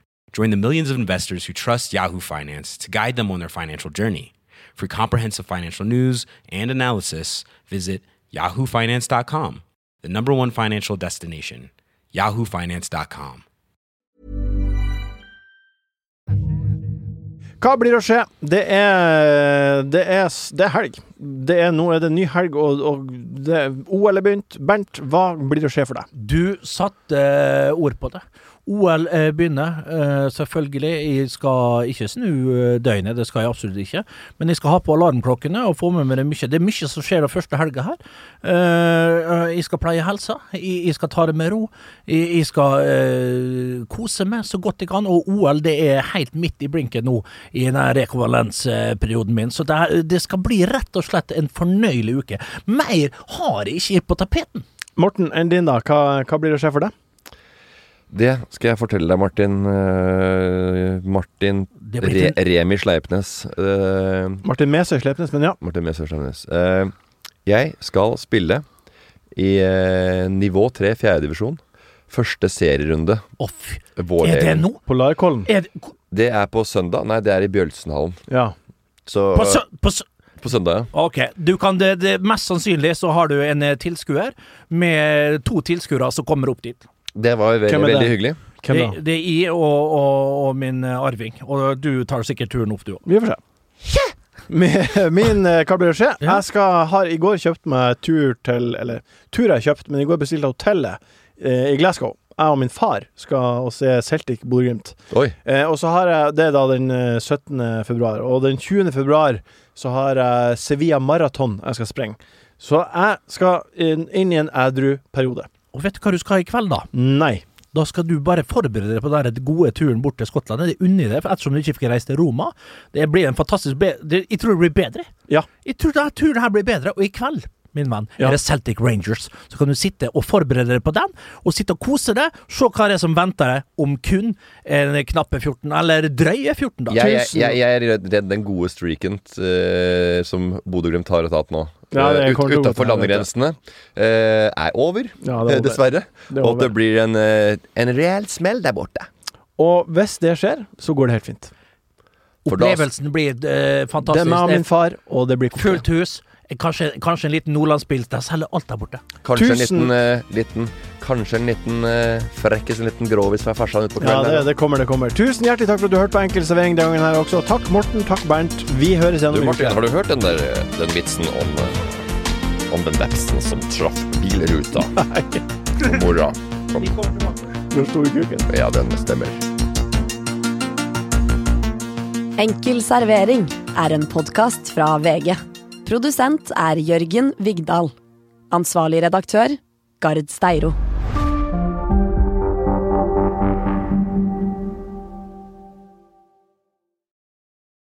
F: Join the millions of investors who trust Yahoo Finance to guide them on their financial journey. For comprehensive financial news and analysis, visit yahoofinance.com, the number one financial destination, yahoofinance.com.
B: Hva blir å skje? Det er, det er, s- det er helg. Det er, nå er det ny helg, og, og det, OL er begynt. Bernt, hva blir å skje for deg?
E: Du satte eh, ord på det. OL eh, begynner, eh, selvfølgelig. Jeg skal ikke snu eh, døgnet, det skal jeg absolutt ikke. Men jeg skal ha på alarmklokkene og få med meg det mye. Det er mye som skjer den første helga her. Eh, eh, jeg skal pleie helsa, jeg, jeg skal ta det med ro. Jeg, jeg skal eh, kose meg så godt jeg kan. Og OL det er helt midt i blinken nå i den her rekonvalensperioden min. Så det, er, det skal bli rett og slett en fornøyelig uke. Mer har jeg ikke på tapeten.
B: Morten, enn din, da. Hva, hva blir å skje for deg?
C: Det skal jeg fortelle deg, Martin. Eh, Martin
B: Det blir
C: Re
B: en-
C: Remi Sleipnes. Eh,
B: Martin Mesøy Slepnes, men ja.
C: Martin Mesøy Sleipnes. Eh, jeg skal spille i eh, nivå 3 fjerdedivisjon. Første serierunde.
E: Off.
C: Vårleiren.
E: Er det nå?
B: Polarkollen.
E: Er det,
C: Det er på søndag. Nei, det er i Bjølsenhallen.
B: Ja.
C: Så,
E: på, sø, på sø
C: på søndag, ja.
E: Ok, du kan det, det, mest sannsynlig så har du en eh, tilskuer med to tilskuere som kommer opp dit.
C: Det var veldig,
B: Hvem er
C: veldig
B: det?
C: hyggelig.
B: Hvem
E: det,
B: da?
E: det er jeg og, og, og min eh, arving, og du tar sikkert turen opp du òg.
B: Vi får se. Min, min eh, Hva blir å skje?
E: Ja.
B: Jeg skal, har i går kjøpt meg tur til Eller tur har jeg kjøpt, men i går bestilte jeg hotellet eh, i Glasgow. Jeg og min far skal og se Celtic Bodø-Glimt.
C: Oi.
B: Eh, og så har jeg Det er da den eh, 17. februar. Og den 20. februar så har jeg Sevilla Marathon jeg skal sprenge. Så jeg skal inn, inn i en ædru periode.
E: Og vet du hva du skal i kveld, da?
B: Nei.
E: Da skal du bare forberede deg på den der gode turen bort til Skottland. Det er unni deg, for ettersom du ikke fikk reist til Roma. Det blir en fantastisk be det, Jeg tror det blir bedre.
B: Ja.
E: Jeg tror denne turen her blir bedre, og i kveld Min venn,
B: Ja.
E: er det Celtic Rangers. Så kan du sitte og forberede deg på den, og sitte og kose deg. Se hva det er som venter deg om kun en knappe 14, eller drøye 14 dager.
C: Jeg, jeg, jeg, jeg er redd- redd den gode streaken eh, som Bodø-Glimt har tatt nå.
B: Ja, det
C: Eh,
B: kommer til å
C: ut,
B: gå
C: utenfor
B: til helvete.
C: landegrensene. eh, er over,
B: Ja, det er
C: eh,
B: over.
C: dessverre.
B: Det er
C: og at
B: over.
C: det blir en, eh, en reell smell der borte.
B: Og hvis det skjer, så går det helt fint.
C: For da-
E: Opplevelsen blir eh,
B: Det
E: fantastisk.
B: er meg og min far, og det blir koselig.
E: Fullt hus. eh, Kanskje, kanskje en liten nordlandspils. Der selger alt der borte.
C: Kanskje en
B: Tusen-
C: liten, eh, liten Kanskje en liten eh, frekkis, en liten grovis fra farsan utpå
B: Ja,
C: kvelden.
B: det,
C: her, da.
B: det kommer, det kommer. Tusen hjertelig takk for at du hørte på Enkel servering den gangen her også. Takk Morten, takk Bernt. Vi høres igjen om
C: Du,
B: en
C: Martin,
B: uke.
C: har du hørt den der eh, Den vitsen om eh, Om den vepsen som traff bilruta? Og mora. Kom.
B: Nå sto vi i kuken.
C: Ja, den stemmer.
A: Enkel servering er en podkast fra VG. Produsent er Jørgen Vigdal. Ansvarlig redaktør, Gard Steiro.